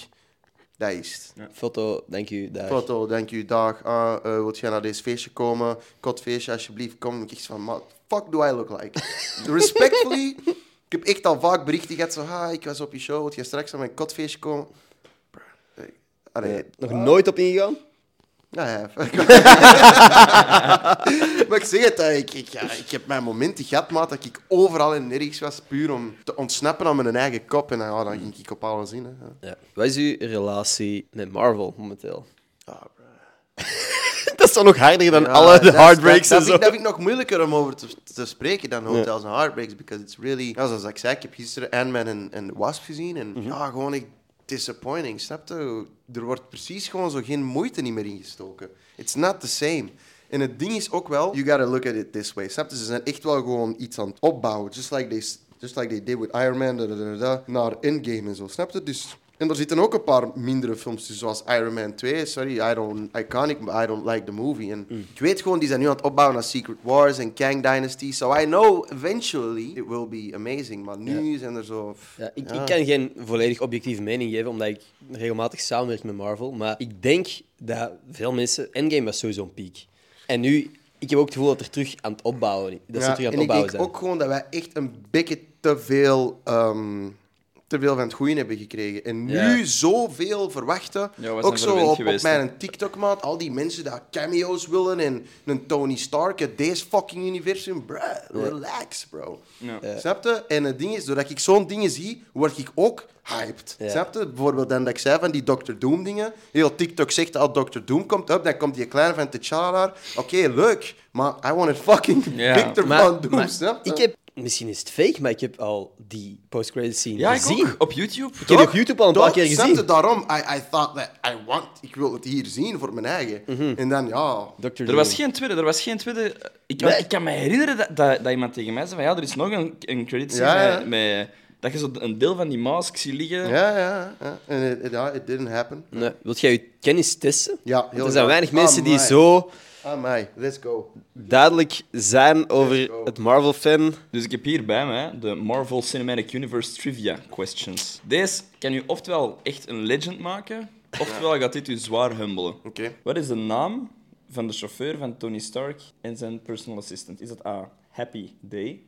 Dat is het. Foto, dank u. daar. Foto, dank u, dag. Ah, eh, wilt jij naar deze feestje komen? Kotfeestje, alsjeblieft, kom. Ik zeg van, "Ma, fuck do I look like? Respectfully, ik heb echt al vaak berichten gehad. Zo, ha, ik was op je show, wilt jij straks naar mijn kotfeestje komen? Bruh, eh, Allee, Nog nooit op ingegaan? nou ja. fuck. <laughs> maar ik zeg het, eh, ik, ik, ja, ik heb mijn momenten gehad, maat, dat ik overal en nergens was, puur om te ontsnappen aan mijn eigen kop. En ja, dan ging ik op alles in. Hè. Ja. Ja. Wat is uw relatie met Marvel momenteel? Ah, bruh. <laughs> dat is dan nog harder dan Ja, alle Ah, dat- de heartbreaks dat, en dat, zo. vind, ik- dat vind ik nog moeilijker om over te, te spreken dan hotels en heartbreaks. Because it's really... Mhm. Ja, zoals ik zei, ik heb gisteren Ant-Man en, en Wasp gezien. En ja, gewoon echt disappointing, snap je? Er wordt precies gewoon zo geen moeite niet meer ingestoken. It's not the same. En het ding is ook wel, you gotta look at it this way. Snap je? Ze zijn echt wel gewoon iets aan het opbouwen. Just like they, s- just like they did with Iron Man, da, da, da, da, naar Endgame en zo. Snap je? Dus en er zitten ook een paar mindere films tussen, zoals Iron Man 2. Sorry, I don't, iconic, but I don't like the movie. En Mm. ik weet gewoon, die zijn nu aan het opbouwen naar Secret Wars en Kang Dynasty. So I know eventually it will be amazing. Maar nu zijn er zo... Ja, ik, Ja. ik kan geen volledig objectieve mening geven, omdat ik regelmatig samenwerk met Marvel. Maar ik denk dat veel mensen... Endgame was sowieso een piek. En nu, ik heb ook het gevoel dat er terug aan het opbouwen, dat ze Ja, terug aan en het ik opbouwen denk zijn. ook gewoon dat wij echt een beetje te veel, ehm, te veel van het goede hebben gekregen. En nu Ja. zoveel verwachten. Ja, we zijn ook zo verwend op, op geweest, mijn TikTok-maat. Al die mensen die cameo's willen en een Tony Stark uit deze fucking universum. Bruh, relax, bro. Ja. Snap je? En het ding is, doordat ik zo'n dingen zie, word ik ook hyped. Ja. Snap je? Bijvoorbeeld dan dat ik zei van die Dr. Doom dingen. Heel TikTok zegt al Dr. Doom komt op, dan komt die kleine van T'Challa. daar. Oké, leuk, maar I want it fucking Ja. Victor Van Doom, maar snap je? ik heb... Misschien is het fake, maar ik heb al die post-credit scene Ja, ik gezien. ook. Op YouTube. Ik heb die op YouTube al een paar Toch? keer Snap gezien. je? daarom, I, I thought that I want, ik wil het hier zien voor mijn eigen. Mhm. En dan, ja... Dr. Er was Doom. geen tweede, er was geen tweede. Ik, want ik kan me herinneren dat, dat, dat iemand tegen mij zei van ja, er is nog een, een credit scene Ja, ja. Met, met- dat je zo een deel van die mask ziet liggen. Ja, ja, ja. En het- het- ja, it didn't happen. Nee. Wilt jij je kennis testen? Ja, Want heel er zijn graag. weinig mensen die Amai. zo Ah, Amai, let's go. duidelijk zijn over go. het Marvel-fan. Dus ik heb hier bij me de Marvel Cinematic Universe Trivia Questions. Deze kan u oftewel echt een legend maken, oftewel gaat dit u zwaar humbelen. Oké. Wat is de naam van de chauffeur van Tony Stark en zijn personal assistant? Is dat A. Happy Day?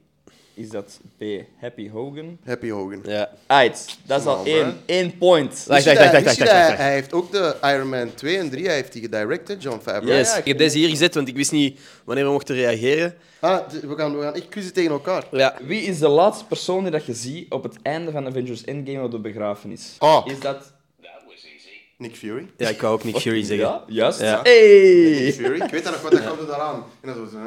Is dat B. Happy Hogan? Happy Hogan. Ja. Aight, dat is Snel, al hè? één. Eén point. Wacht, Wist je wacht, dat- wacht, wist je wacht, dat wacht, Hij heeft ook de Iron Man 2 en 3, hij heeft die gedirected, John Favreau. Ja, Yes. ja, ik heb deze hier gezet, want ik wist niet wanneer we mochten reageren. Ah, d- we gaan, we gaan echt quizzen tegen elkaar. Ja. Dus Wie is de laatste persoon die dat je ziet op het einde van Avengers Endgame op de begrafenis? Ah. Is dat... Nick Fury. ja, ik wou ook Nick Fury zeggen. Ja, juist. Ja. <laughs> Nick Hey! Fury. Ik weet dat nog wat, dat komt er daaraan. En dan zo...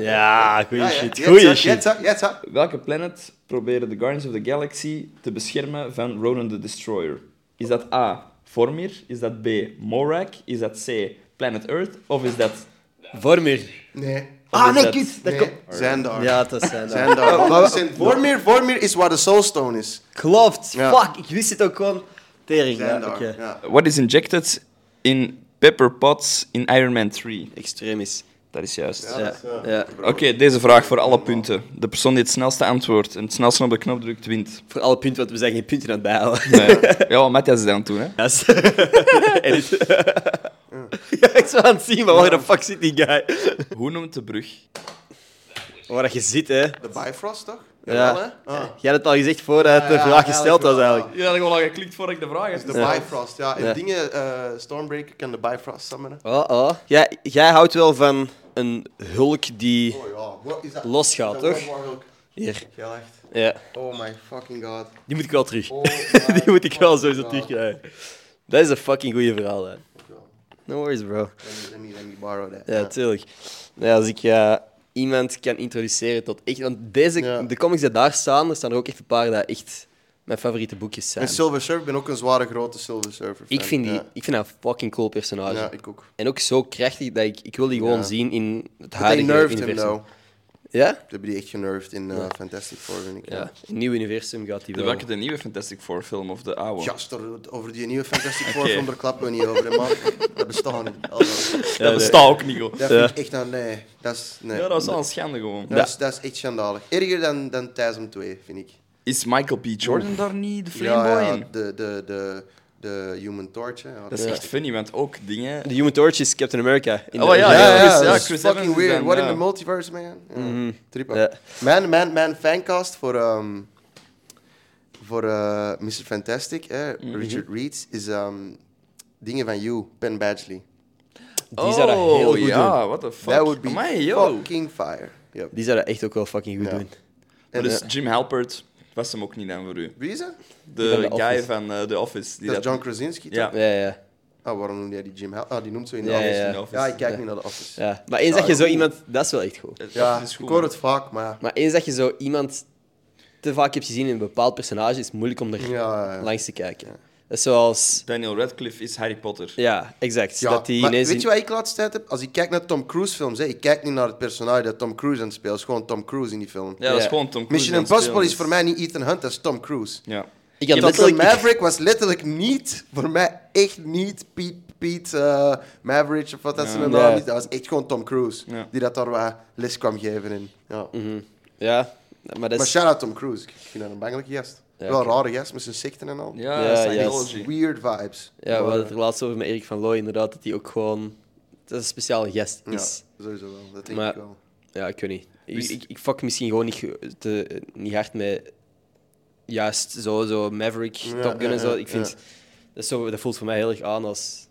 Ja, Ja, goeie ja, shit. yes, Goeie sir, shit. yes, sir, yes, sir. Welke planet proberen de Guardians of the Galaxy te beschermen van Ronan the Destroyer? Is dat A. Vormir? Is dat B. Morak? Is dat C. Planet Earth? Of is dat... Vormir. Nee. Of is Ah, nee, dat- kut. Dat nee. komt... Zijn daar. Ja, dat zijn dat. Zijn daar. Voor Oh, Vormir, Vormir is waar de Soulstone is. Klopt. Ja. Fuck, ik wist het ook gewoon. Tering, ja, Zijn daar. oké. Ja. What is injected in Pepper Potts in Iron Man 3? Extreem is. Dat is juist. Ja, dat is, ja. ja. Oké, deze vraag voor alle punten. De persoon die het snelste antwoordt en het snelste op de knop drukt, wint. Voor alle punten, want we zijn geen punten aan het bijhouden. <laughs> Nee. <laughs> ja, Matthias is dat aan het doen, hè? Yes. Edit. <laughs> ja, ik zou aan het zien, maar waar de fuck zit die guy? Hoe noemt de brug? Waar dat je zit, hè. De Bifrost, toch? Ja. Jawel, hè? Ah. Jij had het al gezegd voordat de Ja, vraag ja, gesteld was, eigenlijk wel, eigenlijk. Je had gewoon al geklikt voordat ik de vraag De heb. Bifrost, ja. En Ja. dingen, eh, Stormbreaker kan de Bifrost summonen. Oh, oh. Jij, jij houdt wel van een hulk die... Oh ja, wat is dat? Losgaat, Dat toch? was ook Hier. Heel echt. Ja. Oh my fucking god. Die moet ik wel terug. <laughs> Oh Die moet ik wel sowieso fucking god. terugkrijgen. Dat is een fucking goede verhaal, hè. No worries, bro. Let me, let me, let me borrow that. Ja, tuurlijk. Nou, als ik eh, iemand kan introduceren tot echt... Want deze, Ja. de comics die daar staan, er staan er ook echt een paar dat echt mijn favoriete boekjes zijn. En Silver Surfer, ik ben ook een zware grote Silver Surfer fan. Ik vind, die, Ja. ik vind dat een fucking cool personage. Ja, ik ook. En ook zo krachtig dat ik, ik wil die gewoon Ja. zien in het But They huidige nerfed him, universum. though. Ja? Ze hebben die echt genervd in eh, Fantastic Four, vind ik. Ja. In het nieuwe universum gaat die De wel. welke de nieuwe Fantastic Four film of de oude? Gast, er- over die nieuwe Fantastic Four Oké. film, daar klappen we niet over, hè, man. Dat bestaat niet. Also, Ja, dat de- bestaat ook niet, hoor. dat Ja. vind ik echt, aan- nee. Dat is, nee. Ja, dat is al een schande gewoon. Dat is, dat is echt schandalig. Erger dan, dan Thijsm 2, vind ik. Is Michael B. Jordan daar niet de Ja, Flameboy ja, in? de, de, de, de Human Torch. hè. Ja, Dat is Ja. echt funny, want ook dingen... De Human Torch is Captain America. In Oh, de- Dus ja, ja, ja, Chris- dat ja, is Chris fucking Evans is weird. dan, What ja. Mhm. in the multiverse, man? Ja. Trip up. Ja. Mijn, mijn, mijn fancast voor, ehm, voor eh, Mr. Fantastic, hè, Mhm. Richard Reed, is ehm, dingen van You, Ben Badgley. Die zou dat heel goed Oh, ja, doen. what the fuck. That would be Amai, yo. fucking fire. Yep. Die zou dat echt ook wel fucking goed Ja. doen. En, Dus eh, Jim Halpert was hem ook niet aan voor u. wie is dat? De van The guy Office. van eh, The Office. Die Dat is John Krasinski. toch? Ja. Ja, ja. Ah, waarom noemde jij die Jim Hal? Ah, die noemt zo in de Ja, office. ja, Ja, ja. ik kijk niet naar de office. ja. Maar eens dat je zo iemand... Dat is wel echt goed. Dat, Ja, is goed. ik hoor man. het vaak, maar ja. Maar eens dat je zo iemand te vaak hebt gezien in een bepaald personage, is het moeilijk om er Ja, ja. langs te kijken. Dat is zoals... Daniel Radcliffe is Harry Potter. Ja, exact. Ja, dat die maar ineens... weet je wat ik laatst tijd heb? Als ik kijk naar Tom Cruise films, hè, ik kijk niet naar het personage dat Tom Cruise aan het spelen is. Gewoon Tom Cruise in die film. Ja, dat is Ja. gewoon Tom Cruise. Mission die aan het Impossible is voor spelen mij niet Ethan Hunt, dat is Tom Cruise. Ja. Ik had Ja, Top Gun letterlijk... Maverick was letterlijk niet, voor mij echt niet Piet, Piet eh, Maverick of wat dat ze Ja. hem naam Ja. is. Dat was echt gewoon Tom Cruise, Ja. die dat daar wat les kwam geven. In. Ja. <laughs> Mhm. Ja, maar dat Maar is... shout-out Tom Cruise, ik vind dat een bangelijke gast. Ja, Wel een oké. rare gast, met zijn secten en al. Ja, Ja, Scientology. Weird vibes. Ja, we hadden het er laatst over met Erik van Looy, inderdaad, dat hij ook gewoon... Dat is een speciale gast Ja, is. sowieso wel, dat denk Maar- ik wel. Ja, ik weet niet. Ik, Dus- ik, ik fuck misschien gewoon niet, ge- te, niet hard met juist zo, zo Maverick, Ja, Top Gun ja, en zo. ja, Ik vind, ja. dat, is zo, dat voelt voor mij heel erg aan als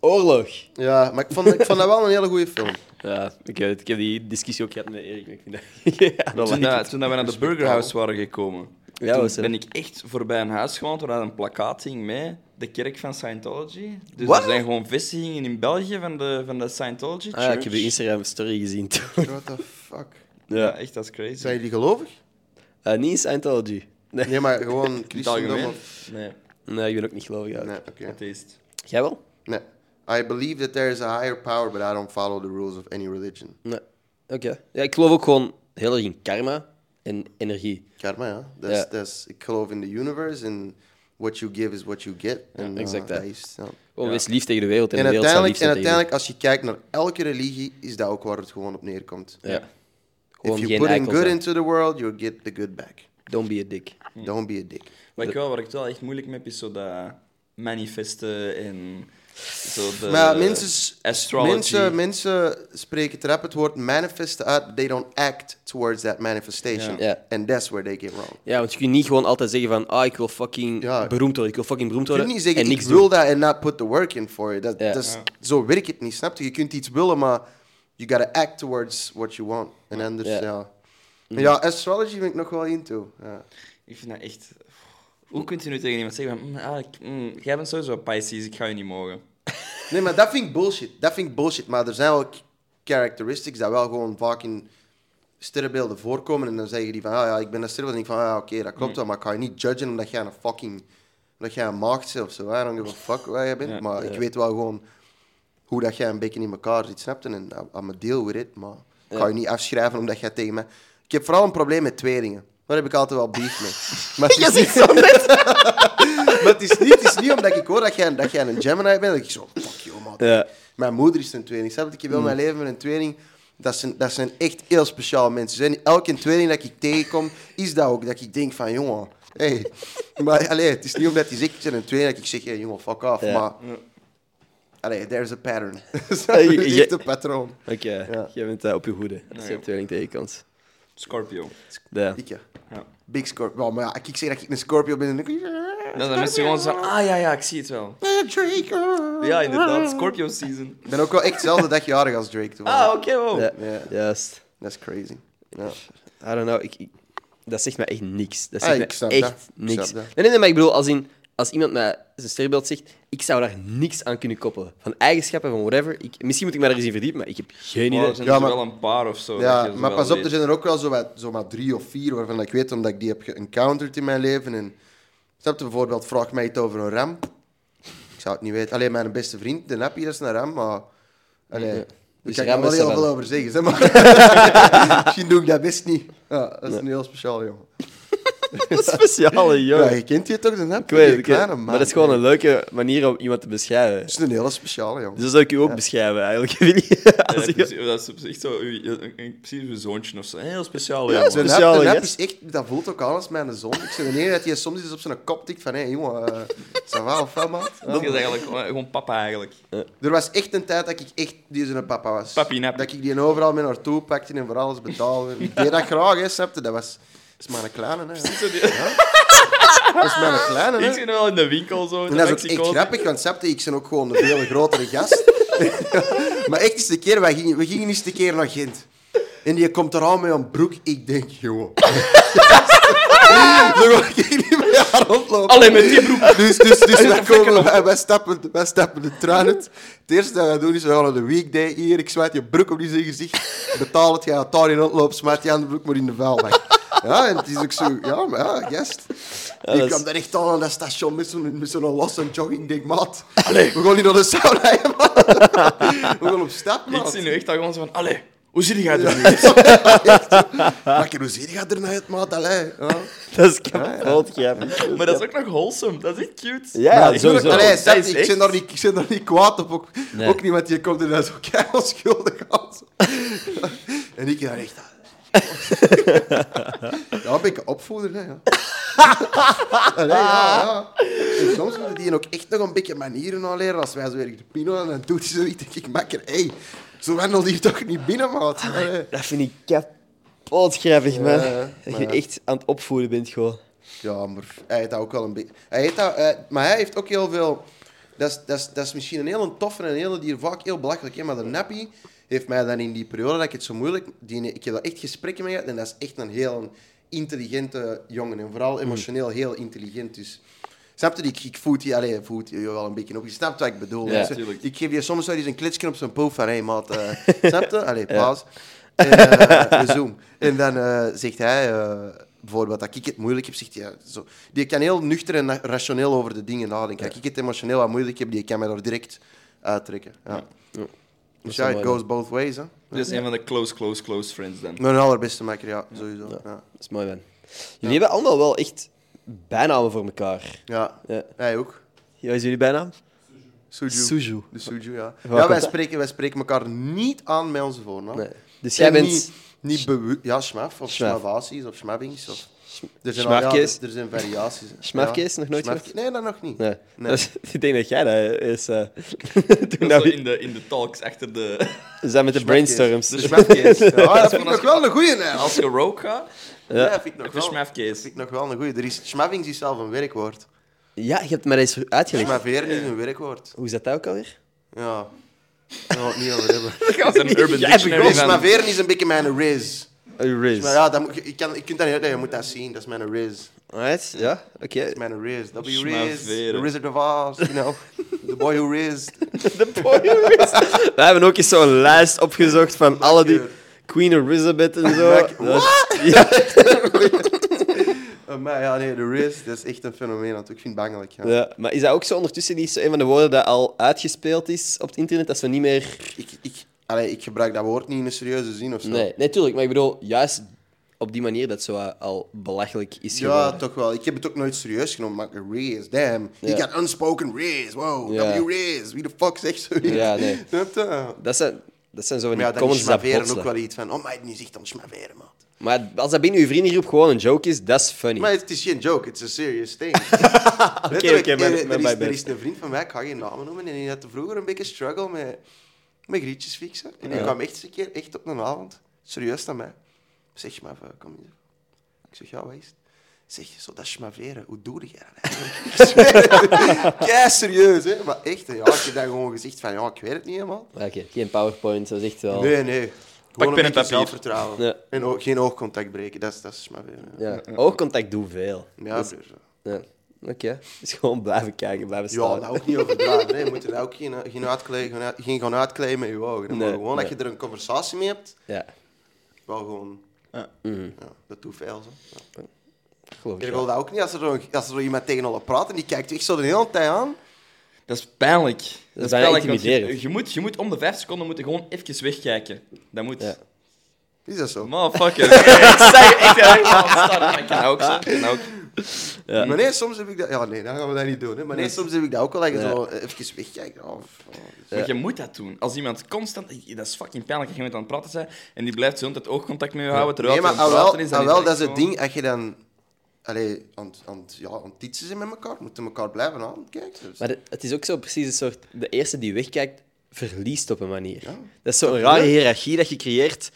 oorlog. Ja, maar ik vond, ik vond dat wel een hele goede <laughs> film. Ja, ik, weet het. ik heb die discussie ook gehad met Erik. maar Ik vind dat... <laughs> ja, dat Toen, lijkt- dat, toen dat we naar de Burger House waren gekomen, Ja, toen was er- ben ik echt voorbij een huis gewoond waar een plakkaat hing met de kerk van Scientology. Dus Wat? er zijn gewoon vestigingen in België van de, van de Scientology Church. Ah, ja, ik heb je Instagram-story gezien toen. What the fuck? Ja, Ja. echt, dat is crazy. Zijn jullie gelovig? Eh, niet in Scientology. Nee. Nee, maar <laughs> gewoon In het christendom algemeen? of... Nee, nee, ik ben ook niet gelovig. Nee, eigenlijk. oké. atheïst. Jij wel? Nee. I believe that there is a higher power, but I don't follow the rules of any religion. Nee. Oké. Ja, ik geloof ook gewoon heel erg in karma en energie. Karma, ja. That's, Ja. That's, ik geloof in the universe and what you give is what you get. En, exact eh, dat. dat is, ja. Gewoon Ja. wees lief tegen de wereld en, En de wereld zal lief uiteindelijk, zijn tegen en uiteindelijk, als je kijkt naar elke religie, is dat ook waar het gewoon op neerkomt. je. Ja. If Gewoon you geen put in eikel good zijn. into the world, you'll get the good back. Don't be a dick. Don't be a dick. Maar ik wel, waar ik het wel echt moeilijk mee heb, is zo dat manifesten en zo de Maar mensen, astrology. mensen, mensen spreken trap het woord manifesten uit. They don't act towards that manifestation. Ja. Ja. And that's where they get wrong. Ja, want je kunt niet gewoon altijd zeggen van, ah, ik wil fucking Ja. beroemd worden, ik wil fucking beroemd Je worden kunt niet zeggen, en ik niks wil doen. dat en not put the work in for it. Dat, Ja. dat is- Zo werkt het niet, snap je? Je kunt iets willen, maar you gotta act towards what you want. En anders, Ja. Mm-hmm. ja. Ja, ja astrology ben ik nog wel into. Ja. Ik vind dat echt... Hoe kunt je nu tegen iemand zeggen van... "Mm, ah, ik- mm, jij bent sowieso Pisces, ik ga je niet mogen. Nee, maar dat vind ik bullshit. Dat vind ik bullshit. Maar er zijn wel k- characteristics dat wel gewoon vaak in sterrenbeelden voorkomen. En dan zeggen die van, ah ja, ik ben een sterrenbeeld. En ik van, ah ja, oké, dat Mm. klopt wel. Maar ik ga je niet judgen omdat jij een fucking... Omdat jij een maagd bent of zo. I don't give a fuck waar jij bent. maar ik weet wel gewoon hoe dat jij een beetje in elkaar zit, snapte? En aan mijn deal with it, maar ik ga je niet afschrijven omdat jij tegen mij... Ik heb vooral een probleem met tweelingen. Daar heb ik altijd wel beef mee. <laughs> Maar het is Je niet- ziet zo net. maar het is niet, het is niet omdat ik hoor dat jij, dat jij een Gemini bent, dat ik zo, fuck joh, man. Ja. Mm. Mijn moeder is een tweeling. Snap je? Ik heb heel mijn leven met een tweeling. Dat zijn, dat zijn echt heel speciaal mensen. Ze Zijn, elke tweeling dat ik tegenkom, is dat ook. Dat ik denk van, jongen, hey. Maar allee, het is niet omdat hij zegt, ik ben een tweeling, dat ik zeg, hey, jongen, fuck off. Ja. Maar, allee, there's a pattern. <laughs> Snap Hey, je? Er is je- echt een patroon. Oké, Ja. jij bent eh, op je hoede als je ja. op tweeling tegenkomt. Scorpio. Ja. Ik, ja. Ja. Big Scorpio. Wel, maar ja, als ik zeg dat ik een Scorpio ben, dan denk ik... Dan zijn mensen gewoon zo van, ah ja, ja, ik zie het wel. Drake. Ja, inderdaad, Scorpio season. Ik ben ook wel echt dezelfde dag jarig als Drake. toen. <laughs> Ah, oké, wow. Ja, Ja. Juist. Dat is crazy. Ja. I don't know, ik, ik- dat zegt me echt niks. Dat Ah, zegt me ik snap echt dat. Ik niks. snap dat. Nee, nee, nee, maar ik bedoel, als, in, als iemand mij zijn sterrenbeeld zegt, ik zou daar niks aan kunnen koppelen. Van eigenschappen, van whatever. Ik, misschien moet ik mij daar eens in verdiepen, maar ik heb geen Wow, idee. er <laughs> zijn Ja, er maar- wel een paar of zo. dat Ja, je ze maar wel pas op, weet. er zijn er ook wel zo, wat, zo maar drie of vier waarvan ik weet omdat ik die heb geëncounterd in mijn leven. En, snap je bijvoorbeeld, vraag mij iets over een ram. Ik zou het niet weten. Alleen mijn beste vriend, de Nappie, dat is een ram, maar... Allee, Ja. Daar Dus kan ram ik wel is heel een veel ram. over zeggen, zeg maar. <laughs> Misschien doe ik dat best niet. Ja, dat is een heel speciaal, jongen. speciale, Ja, joh. je kent je toch, de Nappie? ik weet het, Die ik weet het. kleine man. Maar dat is gewoon een leuke manier om iemand te beschrijven. Dat is een hele speciale, jongen. Dus dat zou ik u ook beschrijven, eigenlijk, <laughs> Willy. <laughs> Ja, Als ik- precies, dat is op zich zo, uw- een- een- precies uw zoontje of zo. Heel speciaal, ja. Ja, man. Zo'n nep, Speciale een nep is gast. echt, dat voelt ook aan als mijn zoon. Ik zeg nee, dat hij soms eens op zijn kop tikt van, hé jongen, eh, <laughs> ça va of wat, maat? Ja. Dat is eigenlijk gewoon- gewoon papa, eigenlijk. Er was echt een tijd dat ik echt die zijn papa was. Papi nep. Dat ik die overal mee naartoe pakte en voor alles betaalde. Ik deed dat graag, hè, snap je? Dat was... Dat is maar een kleine, hè. Zo die- Dat is maar een kleine, hè. <laughs> Ik zit wel in de winkel zo. En dat is ook echt grappig, want snap je, ik ben ook gewoon een veel grotere gast. <laughs> maar echt eens een keer, wij gingen, we gingen eens een keer naar Gent. En die komt er al met een broek. Ik denk, joh. <laughs> Dan ga ik niet meer aan rondlopen. Alleen met die broek. Dus, <laughs> dus, dus wij, komen, wij, wij stappen, wij stappen de traan uit. Het eerste dat wij doen is, we gaan naar de weekday hier. Ik smijt je broek op die zijn gezicht. Betaal het, jij gaat daar in rondlopen. Smijt je andere broek maar in de vuilbak. Ja, en het is ook zo... Ja, maar ja, gast. dat ik is- kwam daar echt aan aan dat station met zo'n, met zo'n losse jogging. Ik denk, maat, we gaan niet naar de sauna, hè, maat. <laughs> We gaan op stap, Ik maat. zie nu echt al gewoon zo van, allee, hoe zit jij er nu? Maar hoe zie je gaat eruit, maat? Allee, ja. Dat is kapot, grappig. Maar dat is ook nog wholesome, dat is echt cute. Ja, Maar ik sowieso. wil ook- Allee, Dat snap je, is ik, echt- zit daar niet, ik zit daar niet kwaad op. Ook, Nee. ook niet, want je komt er dan zo keihard onschuldig aan. <laughs> en ik daar <laughs> echt aan. ja, ben ik een opvoeder, <laughs> hè. Ja. Allee, ja, ja. En soms moeten die ook echt nog een beetje manieren aan leren. Als wij zo weer de pino en dan doet hij zoiets, denk ik, makker, hé, zo wandelt hier toch niet binnen, maat. Allee. Dat vind ik kapot grappig, man. Ja, dat maar je ja. echt aan het opvoeden bent, gewoon. Ja, maar hij heeft dat ook wel een beetje. Hij heeft dat, eh, maar hij heeft ook heel veel. Dat is, dat, is, dat is misschien een hele toffe en een hele die vaak heel belachelijk is. Maar de nappie heeft mij dan in die periode dat ik het zo moeilijk. Die, ik heb daar echt gesprekken mee gehad. En dat is echt een heel intelligente jongen. En vooral emotioneel heel intelligent. Dus. Snap je? Ik, ik voed die, allee, voed die wel een beetje op. Je snapt wat ik bedoel. Ja, Dus, eh, tuurlijk. ik geef je soms wel eens een kletsje op zijn poef van, hé hey, maat, eh, <laughs> snap je? Allee, paas. En, eh, we zoom. En dan eh, zegt hij, eh, bijvoorbeeld, dat ik het moeilijk heb, zegt hij, ja, zo. die kan heel nuchter en na- rationeel over de dingen nadenken. Als ik het emotioneel wat moeilijk heb, die kan mij daar direct uittrekken. Ja. Dus ja, wel it mooi, goes both ways. Hè. is een van de close, close, close friends dan. Mijn allerbeste makker, ja, sowieso. Ja. Ja. Dat is mooi, man. Jullie hebben allemaal wel echt bijnamen voor elkaar. Ja. Hij ook. Wat is jullie bijnaam? Suju. Suju. De Suju, <laughs> ja. Waar Ja, komt wij dat? spreken, wij spreken elkaar niet aan met onze voornaam. Nee. Dus En jij bent... Niet, niet bewust... Ja, schmaf. Of Schmaf. schmavaties, of schmabbings. Of... Er zijn, schmafkees. al- ja, er, er zijn variaties. hè. Schmafkees, nog nooit Schmafke- Nee, dat nog niet. Nee. Nee. Dat is- <laughs> ik denk dat jij dat is... eh, <laughs> toen dat Dat is zo we in de, in de talks achter de, we zijn met de brainstorms. de <laughs> schmafkees. Ja, dat Als je- vind ik nog wel een goeie. hè. Als Als... je rogue gaat, Ja, dat vind ik nog heb je wel, vind schmafkees. ik nog wel een goeie. Er is... Schmabbings is zelf een werkwoord. Ja, je hebt me eens uitgelegd. Schmaveren is een werkwoord. Hoe is dat ook alweer? Ja. Daar gaan we <laughs> het niet over hebben. Dat is een urban Ja, heb ik dictionary ook. van... Schmaveren is een beetje mijn riz. Riz. Maar ja, dat moet, je, ik kan, je kunt dat niet uitleggen. Je moet dat zien. Dat is mijn riz. Alright, ja, oké. Mijn Riz. W Riz. Schmaveren. The Wizard of Oz, you <laughs> know. The boy who rizzed. <laughs> We hebben ook eens zo'n lijst opgezocht van alle die... Lekker. Queen Elizabeth en zo. Lekker. Dat- Ja, Eh, maar ja, nee, de race, dat is echt een fenomeen. natuurlijk. Ik vind het bangelijk. Ja. <laughs> Ja, maar is dat ook zo ondertussen niet zo een van de woorden dat al uitgespeeld is op het internet, dat ze niet meer Ik, ik, allee, ik gebruik dat woord niet in een serieuze zin of zo. Nee, natuurlijk. maar ik bedoel, juist op die manier dat zo eh, al belachelijk is Ja, geworden. toch wel. Ik heb het ook nooit serieus genomen, maar een race, damn. Ja. Ik had unspoken race, wow, Ja. W race, wie de fuck zegt zoiets? Ja, nee. <laughs> Snap je? Dat zijn, dat zijn zo van Maar ja, die dan is comments dat schmaveren botsen. ook wel iets van, oh, maar nu zegt dan schmaveren, man. Maar als dat binnen uw vriendengroep gewoon een joke is, dat is funny. Maar het is geen joke, it's a serious <laughs> thing. Oké, oké, maar- maar er, is, mijn bad. er is een vriend van mij, ik ga geen namen noemen, en die had vroeger een beetje struggle met, met grietjes fixen. En die Ja. kwam echt eens een keer, echt op een avond, serieus naar mij. Zeg, maar, eh, kom hier. Ik zeg, ja, wat is het? Zeg, zo dat schmaveren, hoe doe je dat eigenlijk? Ik zweer <laughs> het. Kei serieus, hè? Maar echt, hè, ja, ik heb dan gewoon gezegd van, ja, ik weet het niet helemaal. Maar Oké, geen PowerPoint, dat is echt wel... Nee, nee. pen Gewoon en een beetje papier. zelfvertrouwen. Ja. En ook geen oogcontact breken, dat is, dat is schmaveren. Ja, Ja. Oogcontact doet veel. ja Dat is- broer, zo. ja. Oké, dus gewoon blijven kijken, blijven Ja, nou, staan. dat ook niet overdrijven. hè. Je moet er ook geen, geen, uitkleden, geen, uit- geen gaan uitkleden met je ogen. hè. Maar Nee, gewoon nee. dat je er een conversatie mee hebt, Ja, wel gewoon... Ja. Ja, dat doet veel, zo. Ja. geloof ik Ik wel. wil dat ook niet, als er, zo- als er zo iemand tegen al praat en die kijkt echt zo de hele tijd aan. Dat is pijnlijk. Dat, is bijna want je- Je, intimiderend. moet, je moet om de vijf seconden moet je gewoon even wegkijken. Dat moet. Ja. Is dat zo? Motherfucker. ik zeg echt helemaal start. Ik kan ook zo. ik kan ook. Ja. Maar nee, soms heb ik dat... Ja, nee, dan gaan we dat niet doen. Hè. Maar nee, soms heb ik dat ook wel, dat je Ja. zo eh, even wegkijkt. Oh, f- oh, dat is- Maar je moet dat doen. Als iemand constant... Dat is fucking pijnlijk als je met aan het praten bent en die blijft zo altijd oogcontact met je houden terwijl Nee, maar je aan al het wel, praten is. dan al wel echt dat is het gewoon- ding, als je dan... Allee, aan, het- aan, het- ja, aan het titsen zijn met elkaar, moeten elkaar blijven aankijken. Dus. Maar de- het is ook zo precies een soort... De eerste die wegkijkt, verliest op een manier. Ja. Dat is zo'n rare hiërarchie dat je creëert.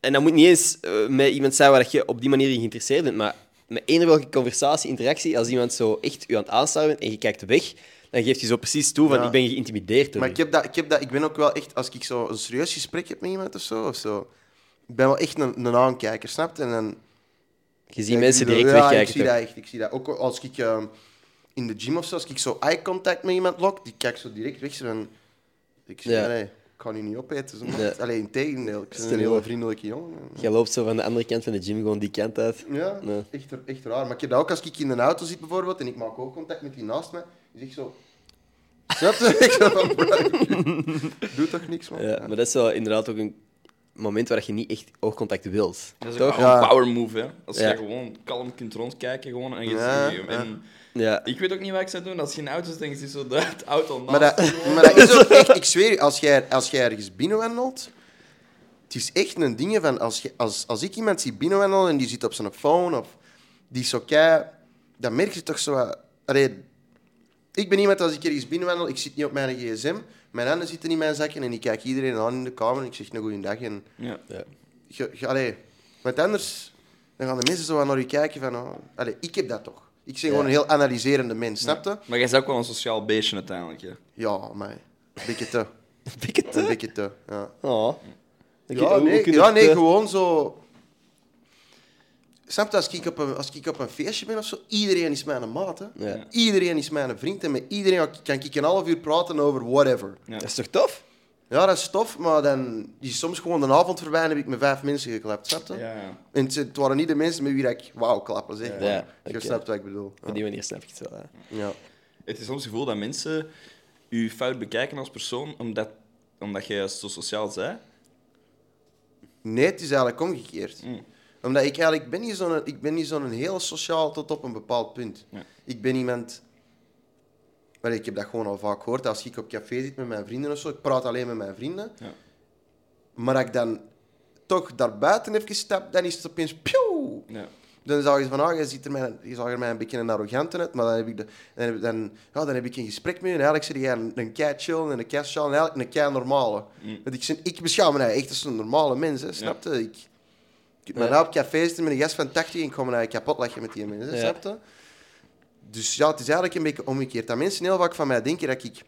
En dat moet niet eens eh, met iemand zijn waar dat je op die manier in geïnteresseerd bent, maar met eender welke conversatie, interactie, als iemand zo echt u aan het aanstaan bent en je kijkt weg, dan geeft hij zo precies toe van Ja. ik ben geïntimideerd door Maar u." ik, heb dat, ik, heb dat, ik ben ook wel echt, als ik zo een serieus gesprek heb met iemand of zo, of zo ik ben wel echt een, een aankijker, snap je? En dan, Je ziet ja, mensen ik zie direct dat- Ja, ik wegkijken. zie toch? dat echt. Ik zie dat ook als ik ehm, in de gym of zo, als ik zo eye contact met iemand lok, die kijkt zo direct weg. Zo van, ik zeg, Ja. nee, ik kan u niet opeten. Zo, maar- Ja. Allee, in tegendeel, ik ben Stel een je heel voor. vriendelijke jongen. Je loopt zo van de andere kant van de gym gewoon die kant uit. Ja, Nee. echt, ra- echt raar. Maar ik heb dat ook als ik in een auto zit bijvoorbeeld en ik maak ook contact met die naast me, die zegt zo... <laughs> Snap je? Ik zo van, "Bro, <laughs> Doe toch niks, man. Ja, maar dat is wel inderdaad ook een moment waar je niet echt oogcontact wilt. Dat is ook toch? wel een Ja. power move, hè. Als Ja. je gewoon kalm kunt rondkijken gewoon, en je Ja, ziet je. ja. En Ja. ik weet ook niet wat ik zou doen. Als je in auto's denkt, is zo de het auto naast Maar dat, je gewoon. maar dat is ook echt, ik zweer je, als jij, als jij ergens binnenwandelt, het is echt een ding van, als, je, als, als ik iemand zie binnenwandelen en die zit op zijn phone of die is zo kei, dan merk je toch zo wat... allee, ik ben iemand, als ik ergens binnenwandel, ik zit niet op mijn gsm, mijn handen zitten in mijn zakken en ik kijk iedereen aan in de kamer en ik zeg een goeiedag en... Ja. Ja. <laughs> Je, je- allee, want anders dan gaan de mensen zo wat naar je kijken van... Oh, allee, ik heb dat toch. Ik ben gewoon een heel analyserende mens, snap je? Maar jij is ook wel een sociaal beestje uiteindelijk, hè. Ja, maar een beetje te. Pik het, hè? Een beetje te, ja. Oh. Ja, nee, ja, eh, nee gewoon zo... Snap je, als ik, op een, als ik op een feestje ben of zo, iedereen is mijn maat. Hè? Ja. Iedereen is mijn vriend en met iedereen kan ik een half uur praten over whatever. Dat is toch tof? Ja, dat is tof, maar dan is soms gewoon de avond voorbij en heb ik met vijf mensen geklapt, snap je? Ja, ja. En het, het waren niet de mensen met wie ik wauw klappen, zeg maar. Ja, Je oké. snapt wat ik bedoel. Ja. Op die manier snap ik het wel. hè. Ja. Het is soms het gevoel dat mensen je fout bekijken als persoon omdat, omdat je zo sociaal bent. Nee, het is eigenlijk omgekeerd. Mm. Omdat ik eigenlijk ben niet zo'n, ik ben niet zo'n heel sociaal tot op een bepaald punt. Ja. Ik ben iemand... Maar ik heb dat gewoon al vaak gehoord. Als ik op café zit met mijn vrienden of zo, ik praat alleen met mijn vrienden. Ja. Maar als ik dan toch daarbuiten even stap, dan is het opeens... Pjoe! Ja. Dan zag je van, ah, je, ziet er mij, je zag er mij een beetje een arrogante uit, maar dan heb ik, de, dan heb, dan, ja, dan heb ik een gesprek met je. En eigenlijk zit jij een, een kei chill en een kei chill en eigenlijk een kei normale. Want ik, zin- ik beschouw me nou echt als een normale mens, hè, snap je? Ik, ik ben nou op café zitten met een gast van 80 en ik kom naar kapot lachen met die mensen, Ja. snap je? Dus ja, het is eigenlijk een beetje omgekeerd. Dat mensen heel vaak van mij denken dat ik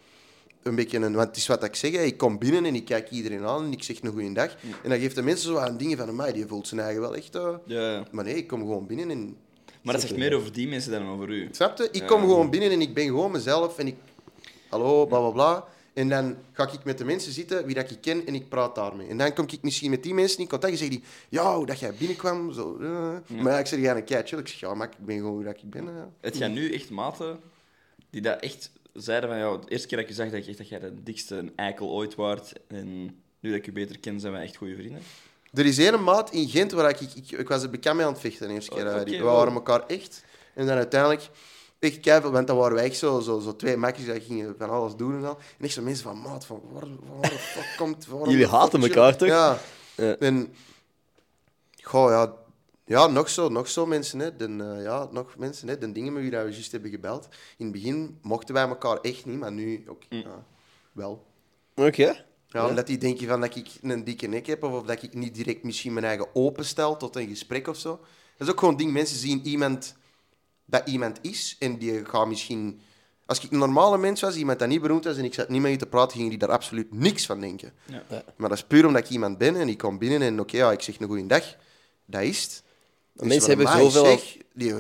een beetje een... Want het is wat ik zeg, hè, ik kom binnen en ik kijk iedereen aan en ik zeg een goeiedag. En dan geeft de mensen zo aan dingen van, mij die voelt zijn eigen wel echt... eh, ja. maar nee, ik kom gewoon binnen en... Maar dat zegt meer over die mensen dan over u. Snap je? Ik kom Ja. gewoon binnen en ik ben gewoon mezelf en ik... Hallo, bla bla bla. En dan ga ik met de mensen zitten wie dat ik ken en ik praat daarmee. En dan kom ik misschien met die mensen in contact en zeggen die... Ja, hoe dat jij binnenkwam, zo... eh." Maar ja, ik zeg, jij een keitje. Ik zeg, ja, maar ik ben gewoon hoe dat ik ben. eh." hè." Het gaan nu echt maten die dat echt zeiden van jou. De eerste keer dat ik je zag, dat ik echt dat jij de dikste eikel ooit waard. En nu dat ik je beter ken, zijn wij echt goede vrienden. Er is één maat in Gent waar ik... Ik, ik, ik was er bekend mee aan het vechten de eerste keer. Oh, eh, oké, die- we wow. waren elkaar echt. En dan uiteindelijk... Echt keiveel, want dan waren wij echt zo, zo, zo twee makkies die gingen van alles doen en al. En echt zo mensen van, maat, van waar, van waar de fuck komt... Waar Jullie haten elkaar, toch? Ja. Ja. En... Goh, ja... Ja, nog zo, nog zo mensen, hè. Den, eh, ja, nog mensen, hè. De dingen met wie dat we juist hebben gebeld. In het begin mochten wij elkaar echt niet, maar nu ook Mm. ja, wel. Oké. Ja, omdat die denken van dat ik een dikke nek heb of, of dat ik niet direct misschien mijn eigen openstel tot een gesprek of zo. Dat is ook gewoon een ding. Mensen zien iemand dat iemand is en die gaan misschien... Als ik een normale mens was, iemand dat niet beroemd was en ik zat niet met je te praten, gingen die daar absoluut niks van denken. Ja. Ja. Maar dat is puur omdat ik iemand ben en ik kom binnen en oké, ja, ik zeg een goeie dag. Dat is het. Mensen Dus wat hebben mij zoveel- zeg, die,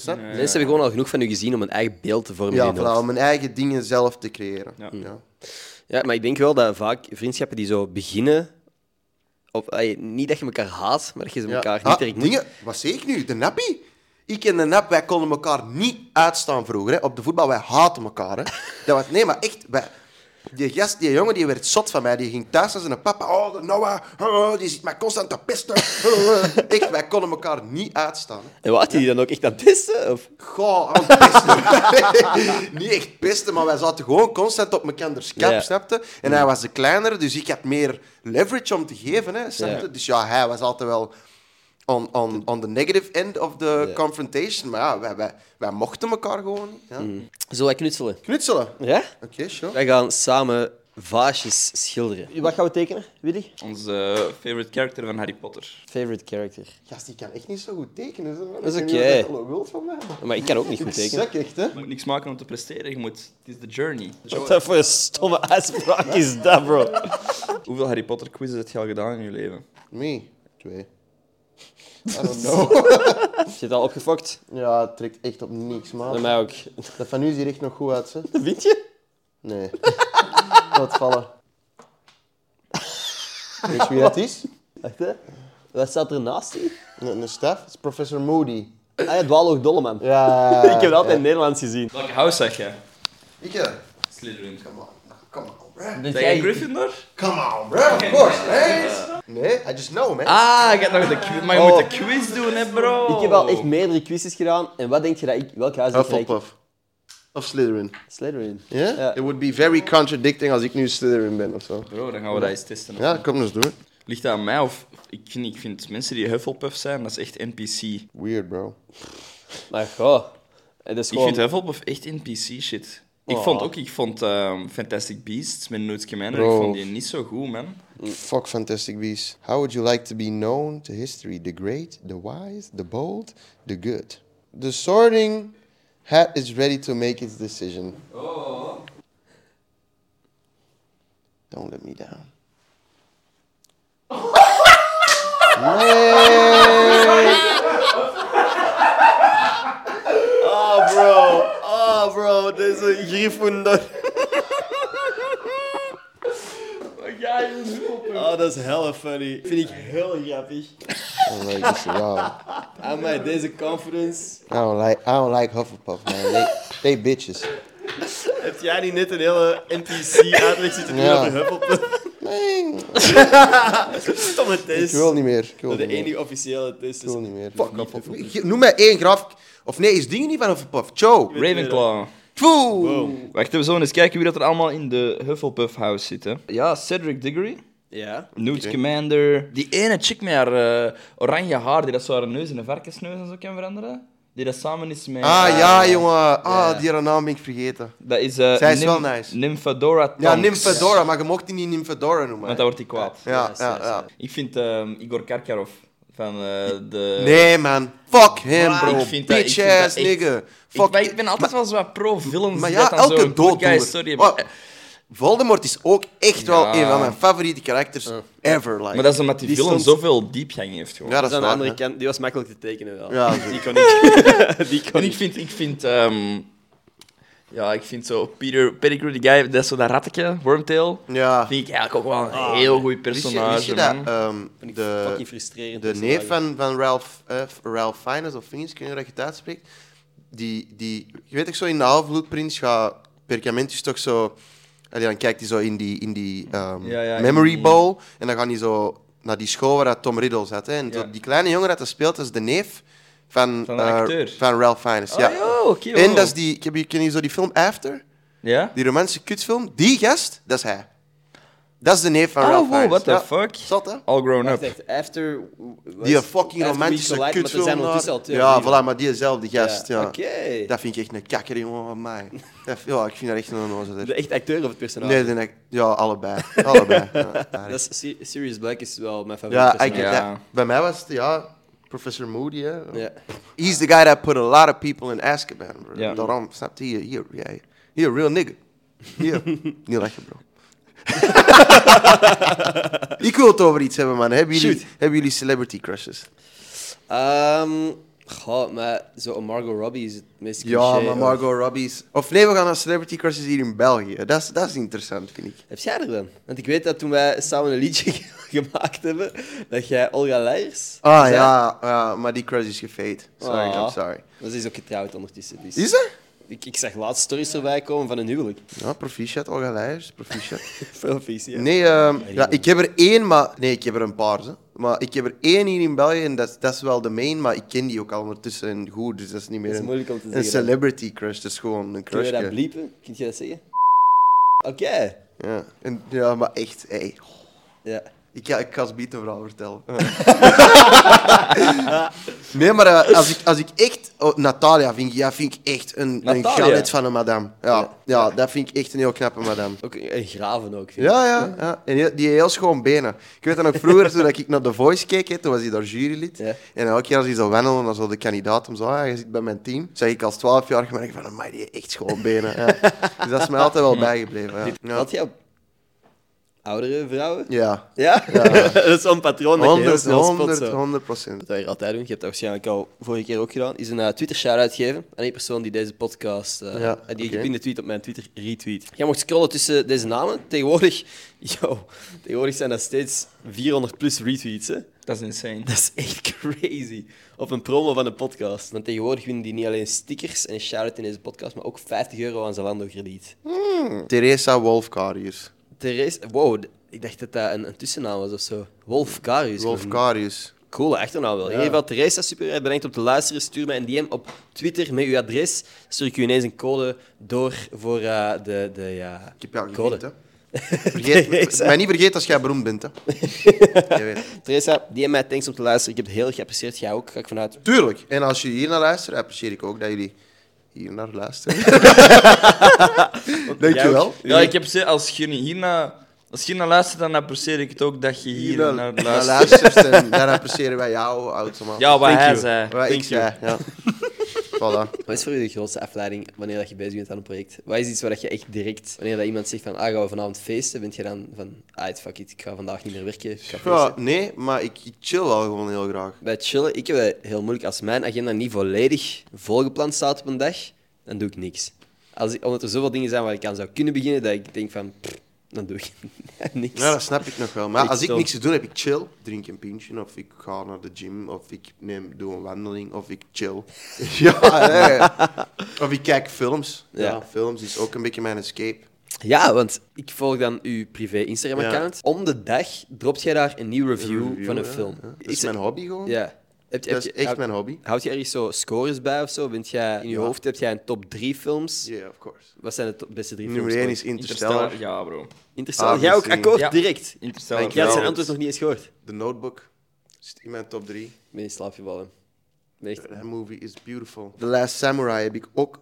snap? Ja. je? Mensen hebben gewoon al genoeg van u gezien om een eigen beeld te vormen. in Ja, hun voilà, hoofd. om mijn eigen dingen zelf te creëren. Ja. Ja. Ja, maar ik denk wel dat vaak vriendschappen die zo beginnen. Of, ey, niet dat je elkaar haat, maar dat je ze elkaar Ah, niet direct moet. dingen, Wat zeg ik nu? De nappie? Ik en de nap, wij konden elkaar niet uitstaan vroeger. Hè. Op de voetbal, wij haten elkaar. Hè. Dat was, nee, maar echt, wij, die gast, die jongen, die werd zot van mij. Die ging thuis naar zijn papa. Oh, de Noah, oh, die zit mij constant te pesten. <laughs> echt, wij konden elkaar niet uitstaan. Hè. En wat had hij die dan ook echt aan het testen? Of? Goh, aan het pesten. <laughs> niet echt pesten, maar wij zaten gewoon constant op mekaars kap, Ja. snapte? En hij was de kleinere, dus ik had meer leverage om te geven, hè, snapte? Ja. Dus ja, hij was altijd wel on, on, on the negative end of the Ja. confrontation. Maar ja, wij, wij, wij mochten elkaar gewoon niet. Ja. Zullen wij knutselen? Knutselen. Oké, Mm. Ja? sure. Wij gaan samen vaasjes schilderen. Wat gaan we tekenen, Willy? Onze favorite character van Harry Potter. Favorite character. Gast, die kan echt niet zo goed tekenen. Zo. is Ik oké. weet niet wat dat allemaal wilt van mij. Maar ik kan ook niet goed Ik tekenen. zak echt, hè? Je moet niks maken om te presteren. Je moet... Het is de journey. Wat dat voor een stomme uitspraak is dat, bro? Hoeveel Harry Potter quizzes heb je al gedaan in je leven? Nee, twee. I <laughs> don't know. Zit al opgefokt? ja, het trekt echt op niks, Bij man. mij ook. Dat van nu ziet er echt nog goed uit, hè? <laughs> Vind je? Nee. <laughs> Laat vallen. Weet je wie dat is? Wacht, hè. Wat staat er naast je? Een, een staf. Dat is professor Moody. Ah, ja, Dwaalhoog Dolleman. Ja. Ik heb dat altijd in Nederlands gezien. Welke house zeg jij? Ik ja. Slytherin. Zeg Come on, come on, bro. Dus jij Gryffindor? Come on, bro. Of course, man. Nee, I just know, man. Ah, ik heb nog de quiz. Maar je Oh. moet de quiz doen, hè, bro. Ik heb Oh. al echt meerdere quizzes gedaan. En wat denk je dat ik... Welk huis denk je dat ik... Hufflepuff. Of Slytherin. Slytherin. Yeah? Ja. It would be very contradicting als ik nu Slytherin ben of zo. Bro, dan gaan we dat eens testen. Ja, kom eens door. Ligt dat aan mij of... Ik vind, ik vind mensen die Hufflepuff zijn, dat is echt NPC. Weird, bro. Maar goh. Het is Ik gewoon... vind Hufflepuff echt NPC-shit. Ik Oh. vond ook... Ik vond ehm, Fantastic Beasts met Newt Scamander, Bro. ik vond die niet zo goed, man. Fuck Fantastic Beasts. How would you like to be known to history? The great, the wise, the bold, the good. The sorting hat is ready to make its decision. Oh. Don't let me down. Oh, bro. Oh, bro. Deze Gryffindor. <laughs> Oh, dat is hella funny. Vind ik heel grappig. I don't like this at all. Aan mij deze confidence. I don't like I don't like Hufflepuff, man. They, they bitches. Heb jij niet net een hele NPC uitleg zitten doen Ja. over Hufflepuff? Nee, Stomme ik test. wil niet meer. Ik wil De niet meer. enige officiële test Ik is... wil niet meer. Fuck Hufflepuff. Noem mij één graaf. Of nee, is dingen niet van Hufflepuff? Joe. Ravenclaw. Dus, Foe. Wacht, we zullen eens kijken wie dat er allemaal in de Hufflepuff House zit. Hè. Ja, Cedric Diggory, Ja. Newt Scamander. Die ene chick met haar eh, oranje haar, die dat zo haar neus in een varkensneus en zo kan veranderen. Die dat samen is met... Ah ja, jongen. Ah, Ja. die haar naam ben ik vergeten. Dat is... eh, Zij is Nym- wel nice. Nymphadora Ja, Tonks. Nymphadora, maar je mocht die niet Nymphadora noemen. Want dan wordt hij kwaad. Ja, Yes, ja, yes, ja. Ik vind ehm, Igor Karkarov van eh, de... Nee, man. Fuck hem, Maar bro. ik vind dat- ik Bitch vind dat ass echt- nigga. Ik, Fuck. maar ik ben altijd wel zo wat pro-villains. Maar die ja, dat dan zo elke een good dooddoener. guy story Oh, hebben. Eh, Voldemort is ook echt wel Ja. een van mijn favoriete karakters ever. Like. Maar dat is omdat die, Die villain stond- zoveel diepgang heeft gewoon. ja, Dat dat is aan de waar, andere hè. kant. Die was <laughs> makkelijk te tekenen wel. Ja, <laughs> die kon ik. die kon En ik ik. vind, ik vind ehm, Ja, ik vind zo Peter Pettigrew, die guy, dat is zo dat rattetje, Wormtail. Ja. Vind ik eigenlijk ook wel een heel goed Wist je, wist personage, je dat man. ehm, Vind ik fucking de, frustrerend. de neef van, van Ralph, eh, Ralph Fiennes, of Fiennes, ik weet niet hoe dat je het uitspreekt, die, die, je weet toch zo, in de Half-Blood gaat Perkamentus toch zo... Allee, dan kijkt hij zo in die, in die ehm, Ja, ja, in memory die- bowl en dan gaat hij zo naar die school waar dat Tom Riddle zat. Hè. En zo Ja. die kleine jongen dat er speelt, dat is de neef van, Van de eh, acteur. van Ralph Fiennes. Oh, ja. ja, oké, en wow. dat is die, ken je- ken je zo die film After? Ja? Die romantische kutfilm, die gast, dat is hij. Dat is de neef van Oh, Ralph wow, Fiennes. what the Ja. fuck? Zot, hè? All grown up. After... Die fucking romantische kutfilm. daar. ja, voilà, maar diezelfde gast. Ja. Oké. Dat vind ik echt een kakker, jongen, van mij. Dat- Ja, ik vind dat echt een onnozel. De echte acteur of het personage? Nee, nee, nee, ja, allebei. <laughs> allebei. Ja, Dat is, Se- Sirius Black is wel mijn favoriete ja, ik, personage. Ja. dat- bij mij was het, ja, Professor Moody. Hè. Ja. He's the guy that put a lot of people in Azkaban. Bro. Ja. Daarom, snap je? Hier, hier, jij. Hier, real nigga. <laughs> Hier. Niet lachen, bro. <laughs> ik wil het over iets hebben, man. Hebben jullie, Shoot. hebben jullie celebrity crushes? Ehm, goh, maar zo Margot Robbie is het meest Ja, cliché, maar of- Margot Robbie's. Of nee, we gaan naar Celebrity Crushes hier in België. Dat is, dat is interessant, vind ik. Heb jij er dan? Want ik weet dat toen wij samen een liedje <laughs> gemaakt hebben, dat jij Olga Leijers... Ah zei- ja, ja, eh, maar die crush is gefade. Sorry, Ah. I'm sorry. Maar ze is ook getrouwd ondertussen. Dus Is ze? ik, ik zag laatst stories erbij komen van een huwelijk. <laughs> Ja, proficiat, Olga Leijers, proficiat. Veel vies, ja. Nee, ehm, <laughs> ja, ik heb er één, maar... Nee, ik heb er een paar, hè. Maar ik heb er één hier in België en dat, is- dat is wel de main, maar ik ken die ook al ondertussen en goed, dus dat is niet meer Dat is een, moeilijk om te een zeggen, hè. celebrity crush. Dat is gewoon een Kun crush. je dat bliepen? Kun je dat zeggen? Oké. Ja. En, ja, maar echt, ey. Ja. Ik ga, ik ga het een verhaal <laughs> vertellen. <laughs> nee, maar eh, als, ik, als ik echt... oh, Natalia vind ik, ja, vind ik echt een, een Natalia? galet van een madame. Ja, ja, dat vind ik echt een heel knappe madame. Ook en graven ook, vind ik. Ja, ja. ja. En die, die heeft heel schoon benen. Ik weet dat nog vroeger, toen ik naar The Voice keek, hè, toen was hij daar jurylid. Ja. En elke keer als hij zo wandelde, dan zo de kandidaat om zo, ah, je zit bij mijn team. Zeg ik als 12 jaar gemerkt van, amai, die heeft echt schoon benen. Ja. Dus dat is mij altijd wel bijgebleven. Ja. Ja. Had jij op oudere vrouwen? ja. Ja? <laughs> dat is zo'n patroon dat je heel 100, snel spot 100, zo. 100 procent. Wat wij altijd doen, je hebt dat waarschijnlijk al vorige keer ook gedaan, is een eh, Twitter shout-out geven aan één persoon die deze podcast, eh, Ja, en die oké. gepinde tweet op mijn Twitter retweet. Jij mocht scrollen tussen deze namen. Tegenwoordig, <laughs> yo, tegenwoordig zijn dat steeds 400 plus retweets, hè. <laughs> Dat is insane. Dat is echt crazy. Op een promo van een podcast. Want tegenwoordig winnen die niet alleen stickers en een shout-out in deze podcast, maar ook 50 euro aan Zalando-krediet. Theresa Wolfkarius. Therese, wow, d- ik dacht dat dat een, een tussennaam was of zo. Wolf Karius. Wolfkarius. Coole achternaam wel. In ieder geval, Theresa, super erg bedankt om te luisteren. Stuur mij een DM op Twitter met uw adres. Stuur ik u ineens een code door voor eh, de, de ja, Ik heb jou code. gevinkt, hè. <laughs> Vergeet, Theresa. mij niet vergeten als jij beroemd bent, <laughs> hè. Jij weet. Theresa, DM mij, thanks om te luisteren. Ik heb het heel erg geapprecieerd. Jij ook, ga ik vanuit. Tuurlijk. En als je hier naar luistert, apprecieer ik ook dat jullie hier naar luisteren. <laughs> Jij Dankjewel. ook? Ja, ik heb ze, als je niet hierna, als je hierna luistert, dan apprecieer ik het ook dat je hier naar naar luistert. luistert. En daar appreciëren wij jou automatisch. Ja, wat Thank hij you. zei. Wat ik Thank you. zei. <laughs> Ja. voilà. Wat is voor u de grootste afleiding wanneer dat je bezig bent aan een project? Wat is iets waar dat je echt direct, wanneer dat iemand zegt van, ah, gaan we vanavond feesten, bent je dan van, ah, fuck it, ik ga vandaag niet meer werken, ik ga feesten. Ja, nee, maar ik, ik chill wel gewoon heel graag. Bij chillen, ik heb het heel moeilijk. Als mijn agenda niet volledig volgepland staat op een dag, dan doe ik niks. Als ik, omdat er zoveel dingen zijn waar ik aan zou kunnen beginnen, dat ik denk van, pff, dan doe ik <laughs> niks. Ja, dat snap ik nog wel. Maar Ik als ik stom. niks te doen heb, ik chill. Drink een pintje, of ik ga naar de gym, of ik neem, doe een wandeling, of ik chill. <laughs> ja, nee. Of ik kijk films. Ja. Ja. films is ook een beetje mijn escape. Ja, want ik volg dan uw privé Instagram-account. Om de dag dropt jij daar een nieuwe review, van een ja, film. ja. Dat Is is het- mijn hobby gewoon. Ja. Heb, heb Dat is je- echt houd- mijn hobby. Houd je ergens zo scores bij of zo? Bent jij, in je hoofd heb jij een top 3 films. Yeah, of course. Wat zijn de to- beste drie films? Nummer 1 ooit? is Interstellar, Interstellar. Ja, bro. Interessant. ABC. Jij ook akkoord Ja. direct. Interstellar. Thank Jij you. had Ja. zijn antwoord nog niet eens gehoord. The Notebook. Zit in mijn top 3. Ben je slaapgevallen? Ben je echt- That movie is beautiful. The Last Samurai heb ik ook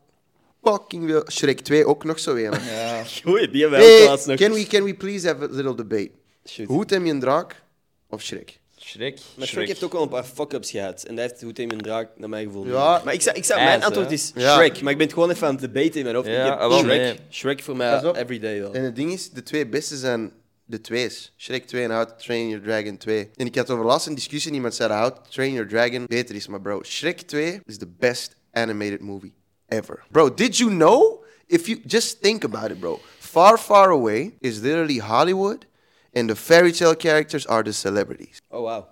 fucking veel. Shrek 2 ook nog zo een. Ja. <laughs> Goeie, die hebben wij ook Hey, laatst nog. can, we, can we please have a little debate? Shoot. Hoe tem je een draak of Shrek? Shrek. Maar Shrek heeft ook wel een paar fuck-ups gehad. En dat heeft hoe een draak, naar mijn gevoel. Ja. niet. Maar ik zou, ik zou, Ja, mijn zo. antwoord is Ja. Shrek. Maar ik ben het gewoon even aan het debaten in mijn hoofd. Ja, Ik heb ah, wel, Shrek. nee. Shrek voor Pas mij op. everyday wel. En het ding is, de twee beste zijn de twee's. Shrek 2 en How to Train Your Dragon 2. En ik had over laatst een discussie en iemand zei dat How to Train Your Dragon beter is. Maar bro, Shrek 2 is the best animated movie ever. Bro, did you know If you just think about it, bro. Far, far away is literally Hollywood, and the fairy tale characters are the celebrities. Oh, wow.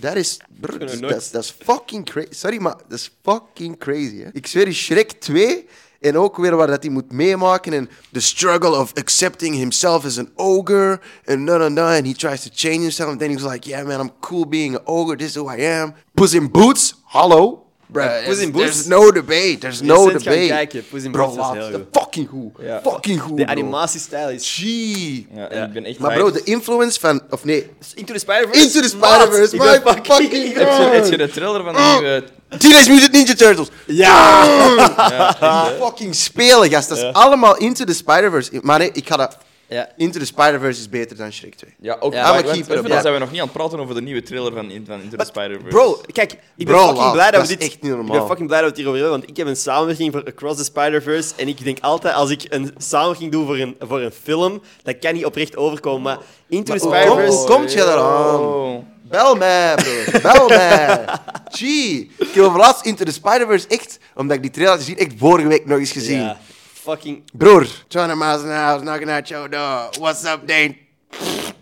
Dat is. brr, kunnen we dat nooit- is- dat is fucking crazy. Sorry, maar dat is fucking crazy. Hè? Ik zweer, die Shrek 2. En ook weer waar dat hij moet meemaken. En the struggle of accepting himself as an ogre. En no, no, no. And he tries to change himself. And then he's like, yeah, man, I'm cool being an ogre. This is who I am. Puss in Boots. Hallo. Bruh, Puss in Boots. There's no debate. There's no Recent gaan debate. kijken, Puss in Bro, Boots was laat- heel dat goed. Fucking goed. Ja. Fucking goed, De bro. animatiestijl is... Gee. Ja, en Ja. ik ben echt Maar hyped. bro, de influence van... Of nee, Into the Spider-Verse? Into the Maat, Spider-Verse. ik My ben fucking- fucking Heb je, god. heb je de trailer van eh, de nieuwe... Teenage Mutant Ninja Turtles. Ja! Die fucking spelen, gast. Dat is allemaal Into the Spider-Verse. Maar nee, ik ga dat... Ja. Into the Spider-Verse is beter dan Shrek 2. Ja, ook Ja, maar maar wacht, keep it even, up, dan ja. zijn we nog niet aan het praten over de nieuwe trailer van, In- van Into the Spider-Verse. Bro, Oh, kijk, ik ben Bro, fucking wauw, blij dat we dat is dit... echt niet Ik normaal. ben fucking blij dat we het hierover hebben, want ik heb een samenwerking voor Across the Spider-Verse. En ik denk altijd, als ik een samenwerking doe voor een, voor een film, dat kan niet oprecht overkomen. Maar Into the Maar hoe komt- Spider-Verse... hoe komt je daar aan? Oh. Bel mij, bro. <laughs> Bel mij. Gee. Ik heb over laatst Into the Spider-Verse echt... Omdat ik die trailer had gezien, echt vorige week nog eens gezien. Ja, fucking... Broer. 200 miles an hour, knocking at your door. nou, What's up, Dane?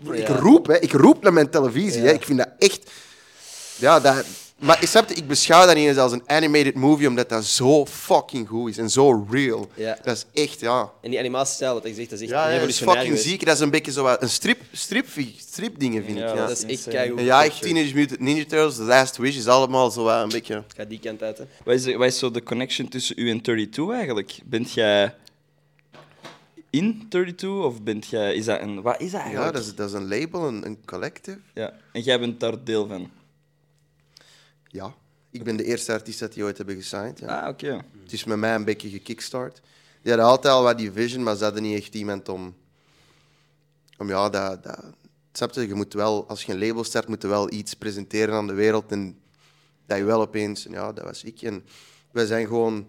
Broer, Ik Ja. roep, hè. Ik roep naar mijn televisie, hè. Ik vind dat echt... Ja, dat... Maar ik, snap het, ik beschouw dat niet eens als een animated movie, omdat dat zo fucking goed is en zo real. Ja. Dat is echt, ja. En die animatiestijl, wat ik zeg, dat is echt Ja, dat is revolutionair fucking geweest. ziek. Dat is een beetje zo wat- een strip, strip, stripdingen, vind Ja, ik. Dat Ja. is echt Insane. keigoed. En ja, echt gefactured. Teenage Mutant Ninja Turtles, The Last Wish is allemaal zo wat een beetje... Ik ga die kant uit, hè. Wat is, wat is zo de connection tussen u en 32 eigenlijk? Bent jij in 32 of bent jij... Is dat een... Wat is dat Ja, eigenlijk? dat is, dat is een label, een, een collective. Ja. En jij bent daar deel van? Ja. Ik ben de eerste artiest dat die ooit hebben gesigned. Ja. Ah, oké. Het is met mij een beetje gekickstart. Die hadden altijd al wat die vision, maar ze hadden niet echt iemand om... Om ja, dat... dat snap je? Je moet wel... Als je een label start, moet je wel iets presenteren aan de wereld. En dat je wel opeens... En ja, dat was ik. En wij zijn gewoon...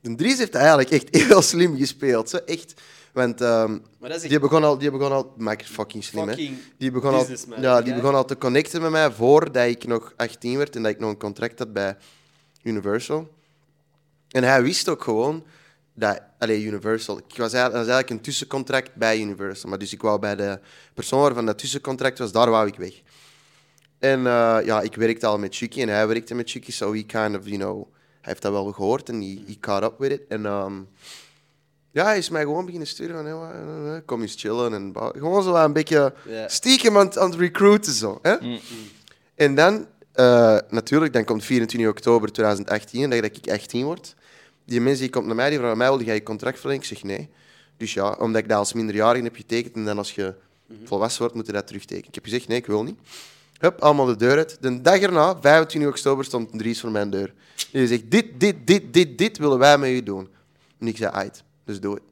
De Dries heeft eigenlijk echt <laughs> heel slim gespeeld. Zo, echt. Want ehm, Maar dat is echt- die begon al... Die begon al... Maak het fucking slim, hè. Fucking Die begon al, businessman, ja, die kijk. begon al te connecten met mij voordat ik nog 18 werd en dat ik nog een contract had bij Universal. En hij wist ook gewoon dat... Allee, Universal. Ik was eigenlijk, dat was eigenlijk een tussencontract bij Universal. Maar dus ik wou bij de persoon waarvan dat tussencontract was, daar wou ik weg. En eh, ja, ik werkte al met Chucky en hij werkte met Chucky. So he kind of, you know... Hij heeft dat wel gehoord en he, he caught up with it. En ehm, ja, hij is mij gewoon beginnen sturen van... "Hey, wa- eh, Kom eens chillen en... bla- Gewoon zo een beetje Ja. stiekem aan, het- aan het recruiten zo. Hè? En dan, eh, natuurlijk, dan komt 24 oktober 2018, dat ik 18 word. Die mensen die komt naar mij, die vragen mij, wil jij je contract verlengen? Ik zeg nee. Dus ja, omdat ik dat als minderjarige heb getekend en dan als je volwassen wordt, moet je dat terugtekenen. Ik heb gezegd nee, ik wil niet. Hup, allemaal de deur uit. De dag erna, 25 oktober, stond een Dries voor mijn deur. Die zegt, dit, dit, dit, dit, dit willen wij met je doen. En ik zei, uit, dus doe het.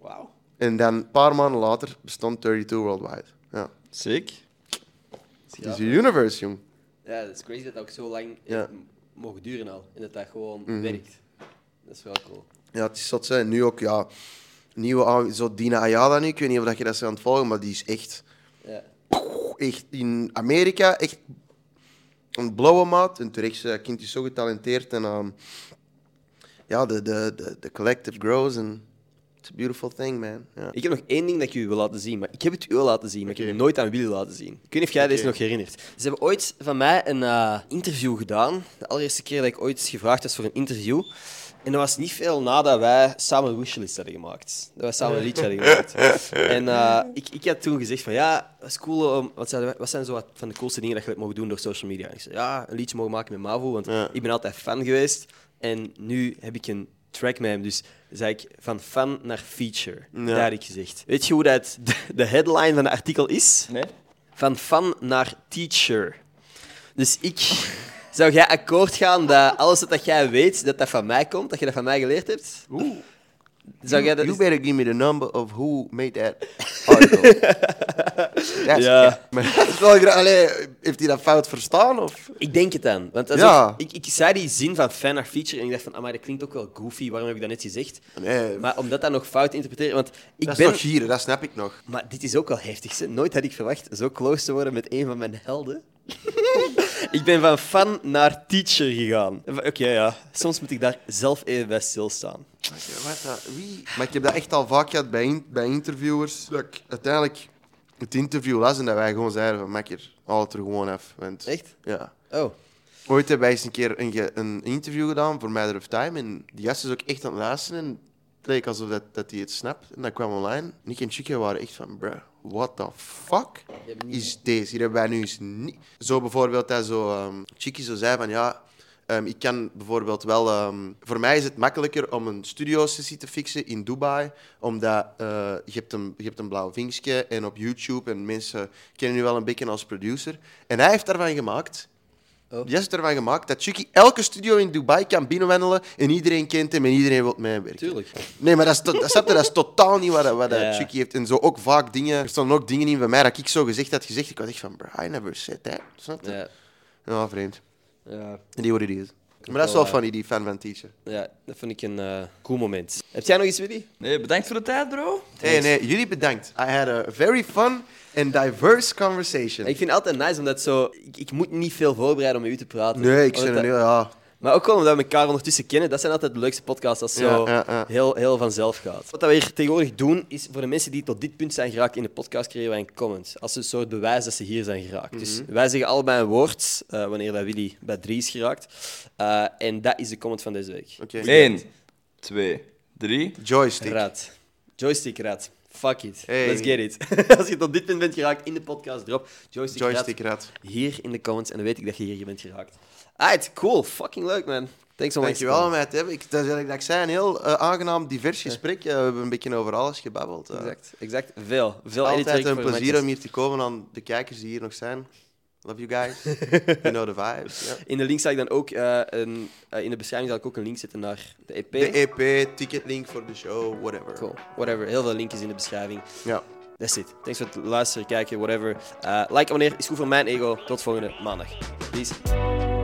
Wauw. En dan, een paar maanden later, bestond 32 Worldwide. Ja. Sick. Het is een universe, jong. Ja, dat is crazy dat dat ook zo lang Ja. heeft Mhm. m- mogen duren al. En dat dat gewoon werkt. Dat is wel cool. Ja, het is zot. hè. En nu ook, ja. Nieuwe, aan- zo Dina Ayala nu. Ik weet niet of dat je dat zo aan het volgen, maar die is echt, Ja. echt in Amerika echt een blauwe maat. En terecht, dat kind is zo getalenteerd. En ehm, ja, de, de, de, de collective grows. En it's a beautiful thing, man. Ja. Ik heb nog één ding dat ik jullie wil laten zien. Maar ik heb het u al laten zien, maar ik heb het nooit aan Willy laten zien. Ik weet niet of jij deze nog herinnert. Ze hebben ooit van mij een eh, interview gedaan. De allereerste keer dat ik ooit gevraagd was voor een interview. En dat was niet veel nadat wij samen een wishlist hadden gemaakt. Dat wij samen een liedje hadden <laughs> gemaakt. En eh, ik, ik had toen gezegd van ja, dat is cool. Om, wat, zijn, wat zijn zo wat van de coolste dingen dat je mogen doen door social media? En ik zei ja, een liedje mogen maken met Mavo, want Ja. ik ben altijd fan geweest. En nu heb ik een track met hem. Dus zei ik van fan naar feature. Ja. Daar heb ik gezegd. Weet je hoe dat de, de headline van het artikel is? Nee? Van fan naar teacher. Dus ik... Zou jij akkoord gaan dat alles wat dat jij weet, dat dat van mij komt? Dat je dat van mij geleerd hebt? Oeh. Zou jij dat... You better give me the number of who made that <laughs> article. That's Ja. it. Maar dat is wel gra- Allee, heeft hij dat fout verstaan? Of? Ik denk het dan. Want dat is Ja. ook- ik, ik zei die zin van fan naar feature en ik dacht van, "Ah, maar dat klinkt ook wel goofy, waarom heb ik dat net gezegd? Nee, Maar omdat dat nog fout interpreteren, want ik dat is ben... nog hier, dat snap ik nog. Maar dit is ook wel heftig. Hè? Nooit had ik verwacht zo close te worden met een van mijn <laughs> helden. ik ben van fan naar teacher gegaan. Oké, ja. Soms moet ik daar zelf even bij stilstaan. Oké, wat dat- Wie? Maar ik heb dat echt al vaak gehad bij, in- bij interviewers. Dat ik uiteindelijk het interview las en dat wij gewoon zeiden van makker, haal het er gewoon af. Want, Echt? Ja. Oh. Ooit hebben wij eens een keer een, ge- een interview gedaan voor Matter of Time. En die gast is ook echt aan het luisteren. En het leek alsof dat, dat die het snapt. En dat kwam online. Nick en Chica waren echt van, bruh, what the fuck is deze? Hier hebben wij nu eens niet... Zo bijvoorbeeld dat zo... ehm Chicky zo zei van, ja... ehm, ik kan bijvoorbeeld wel... ehm, voor mij is het makkelijker om een studiosessie te fixen in Dubai. Omdat eh, je, hebt een, je hebt een blauw vinkje en op YouTube. En mensen kennen je wel een beetje als producer. En hij heeft daarvan gemaakt... Oh. Die heeft ervan gemaakt dat Chucky elke studio in Dubai kan binnenwandelen en iedereen kent hem en iedereen wil meewerken. Tuurlijk. Nee, maar dat is, to- dat, snap je, dat is totaal niet wat, dat- wat dat Ja. Chucky heeft. En zo ook vaak dingen, er stonden ook dingen in van mij dat ik zo gezegd had gezegd. Ik was echt van, bro, I never said that. Snap je? Ja, Ja. vreemd. Ja. En die worden die. Maar dat is wel funny, die fan van Teacher. ja, dat vind ik een eh, cool moment. Heb jij nog iets, Willy? Nee, bedankt voor de tijd, bro. Hey, nee, jullie bedankt. I had a very fun and diverse conversation. Ik vind het altijd nice, omdat zo... Ik, ik moet niet veel voorbereiden om met u te praten. nee, ik Omdat ben Oh, dat- een heel... Ja. Maar ook gewoon omdat we elkaar ondertussen kennen. Dat zijn altijd de leukste podcasts als zo Ja, ja, ja. Heel, heel vanzelf gaat. Wat dat we hier tegenwoordig doen, is voor de mensen die tot dit punt zijn geraakt in de podcast, creëren wij een comment. Als een soort bewijs dat ze hier zijn geraakt. Dus Mhm. wij zeggen allebei een woord, eh, wanneer dat Willy bij drie is geraakt. Eh, en dat is de comment van deze week. Oké. 1, 2, 3. Joystick. Raad. Joystick raad. Fuck it. Hey. Let's get it. <laughs> Als je tot dit punt bent geraakt in de podcast, drop joystick, Joystick raad. raad. Hier in de comments. En dan weet ik dat je hier bent geraakt. Alright, cool. Fucking leuk, man. Thanks om langs te Dankjewel om komen. mij te hebben. Ik, dat, is eigenlijk dat ik zei, een heel eh, aangenaam, divers gesprek. Eh, we hebben een beetje over alles gebabbeld. eh. Exact, exact. Veel. Veel Altijd editwerk voor een de plezier om mensen. hier te komen aan de kijkers die hier nog zijn. Love you <laughs> guys. you know the vibes. ja. In de link zal ik dan ook, eh, een, eh, in de beschrijving zal ik ook een link zetten naar de EP. De E EP, ticketlink voor de show, whatever. Cool, whatever. Heel veel linkjes in de beschrijving. Ja. That's it. Thanks voor het luisteren, kijken, whatever. Eh like wanneer is goed voor mijn ego. Tot volgende maandag. Peace.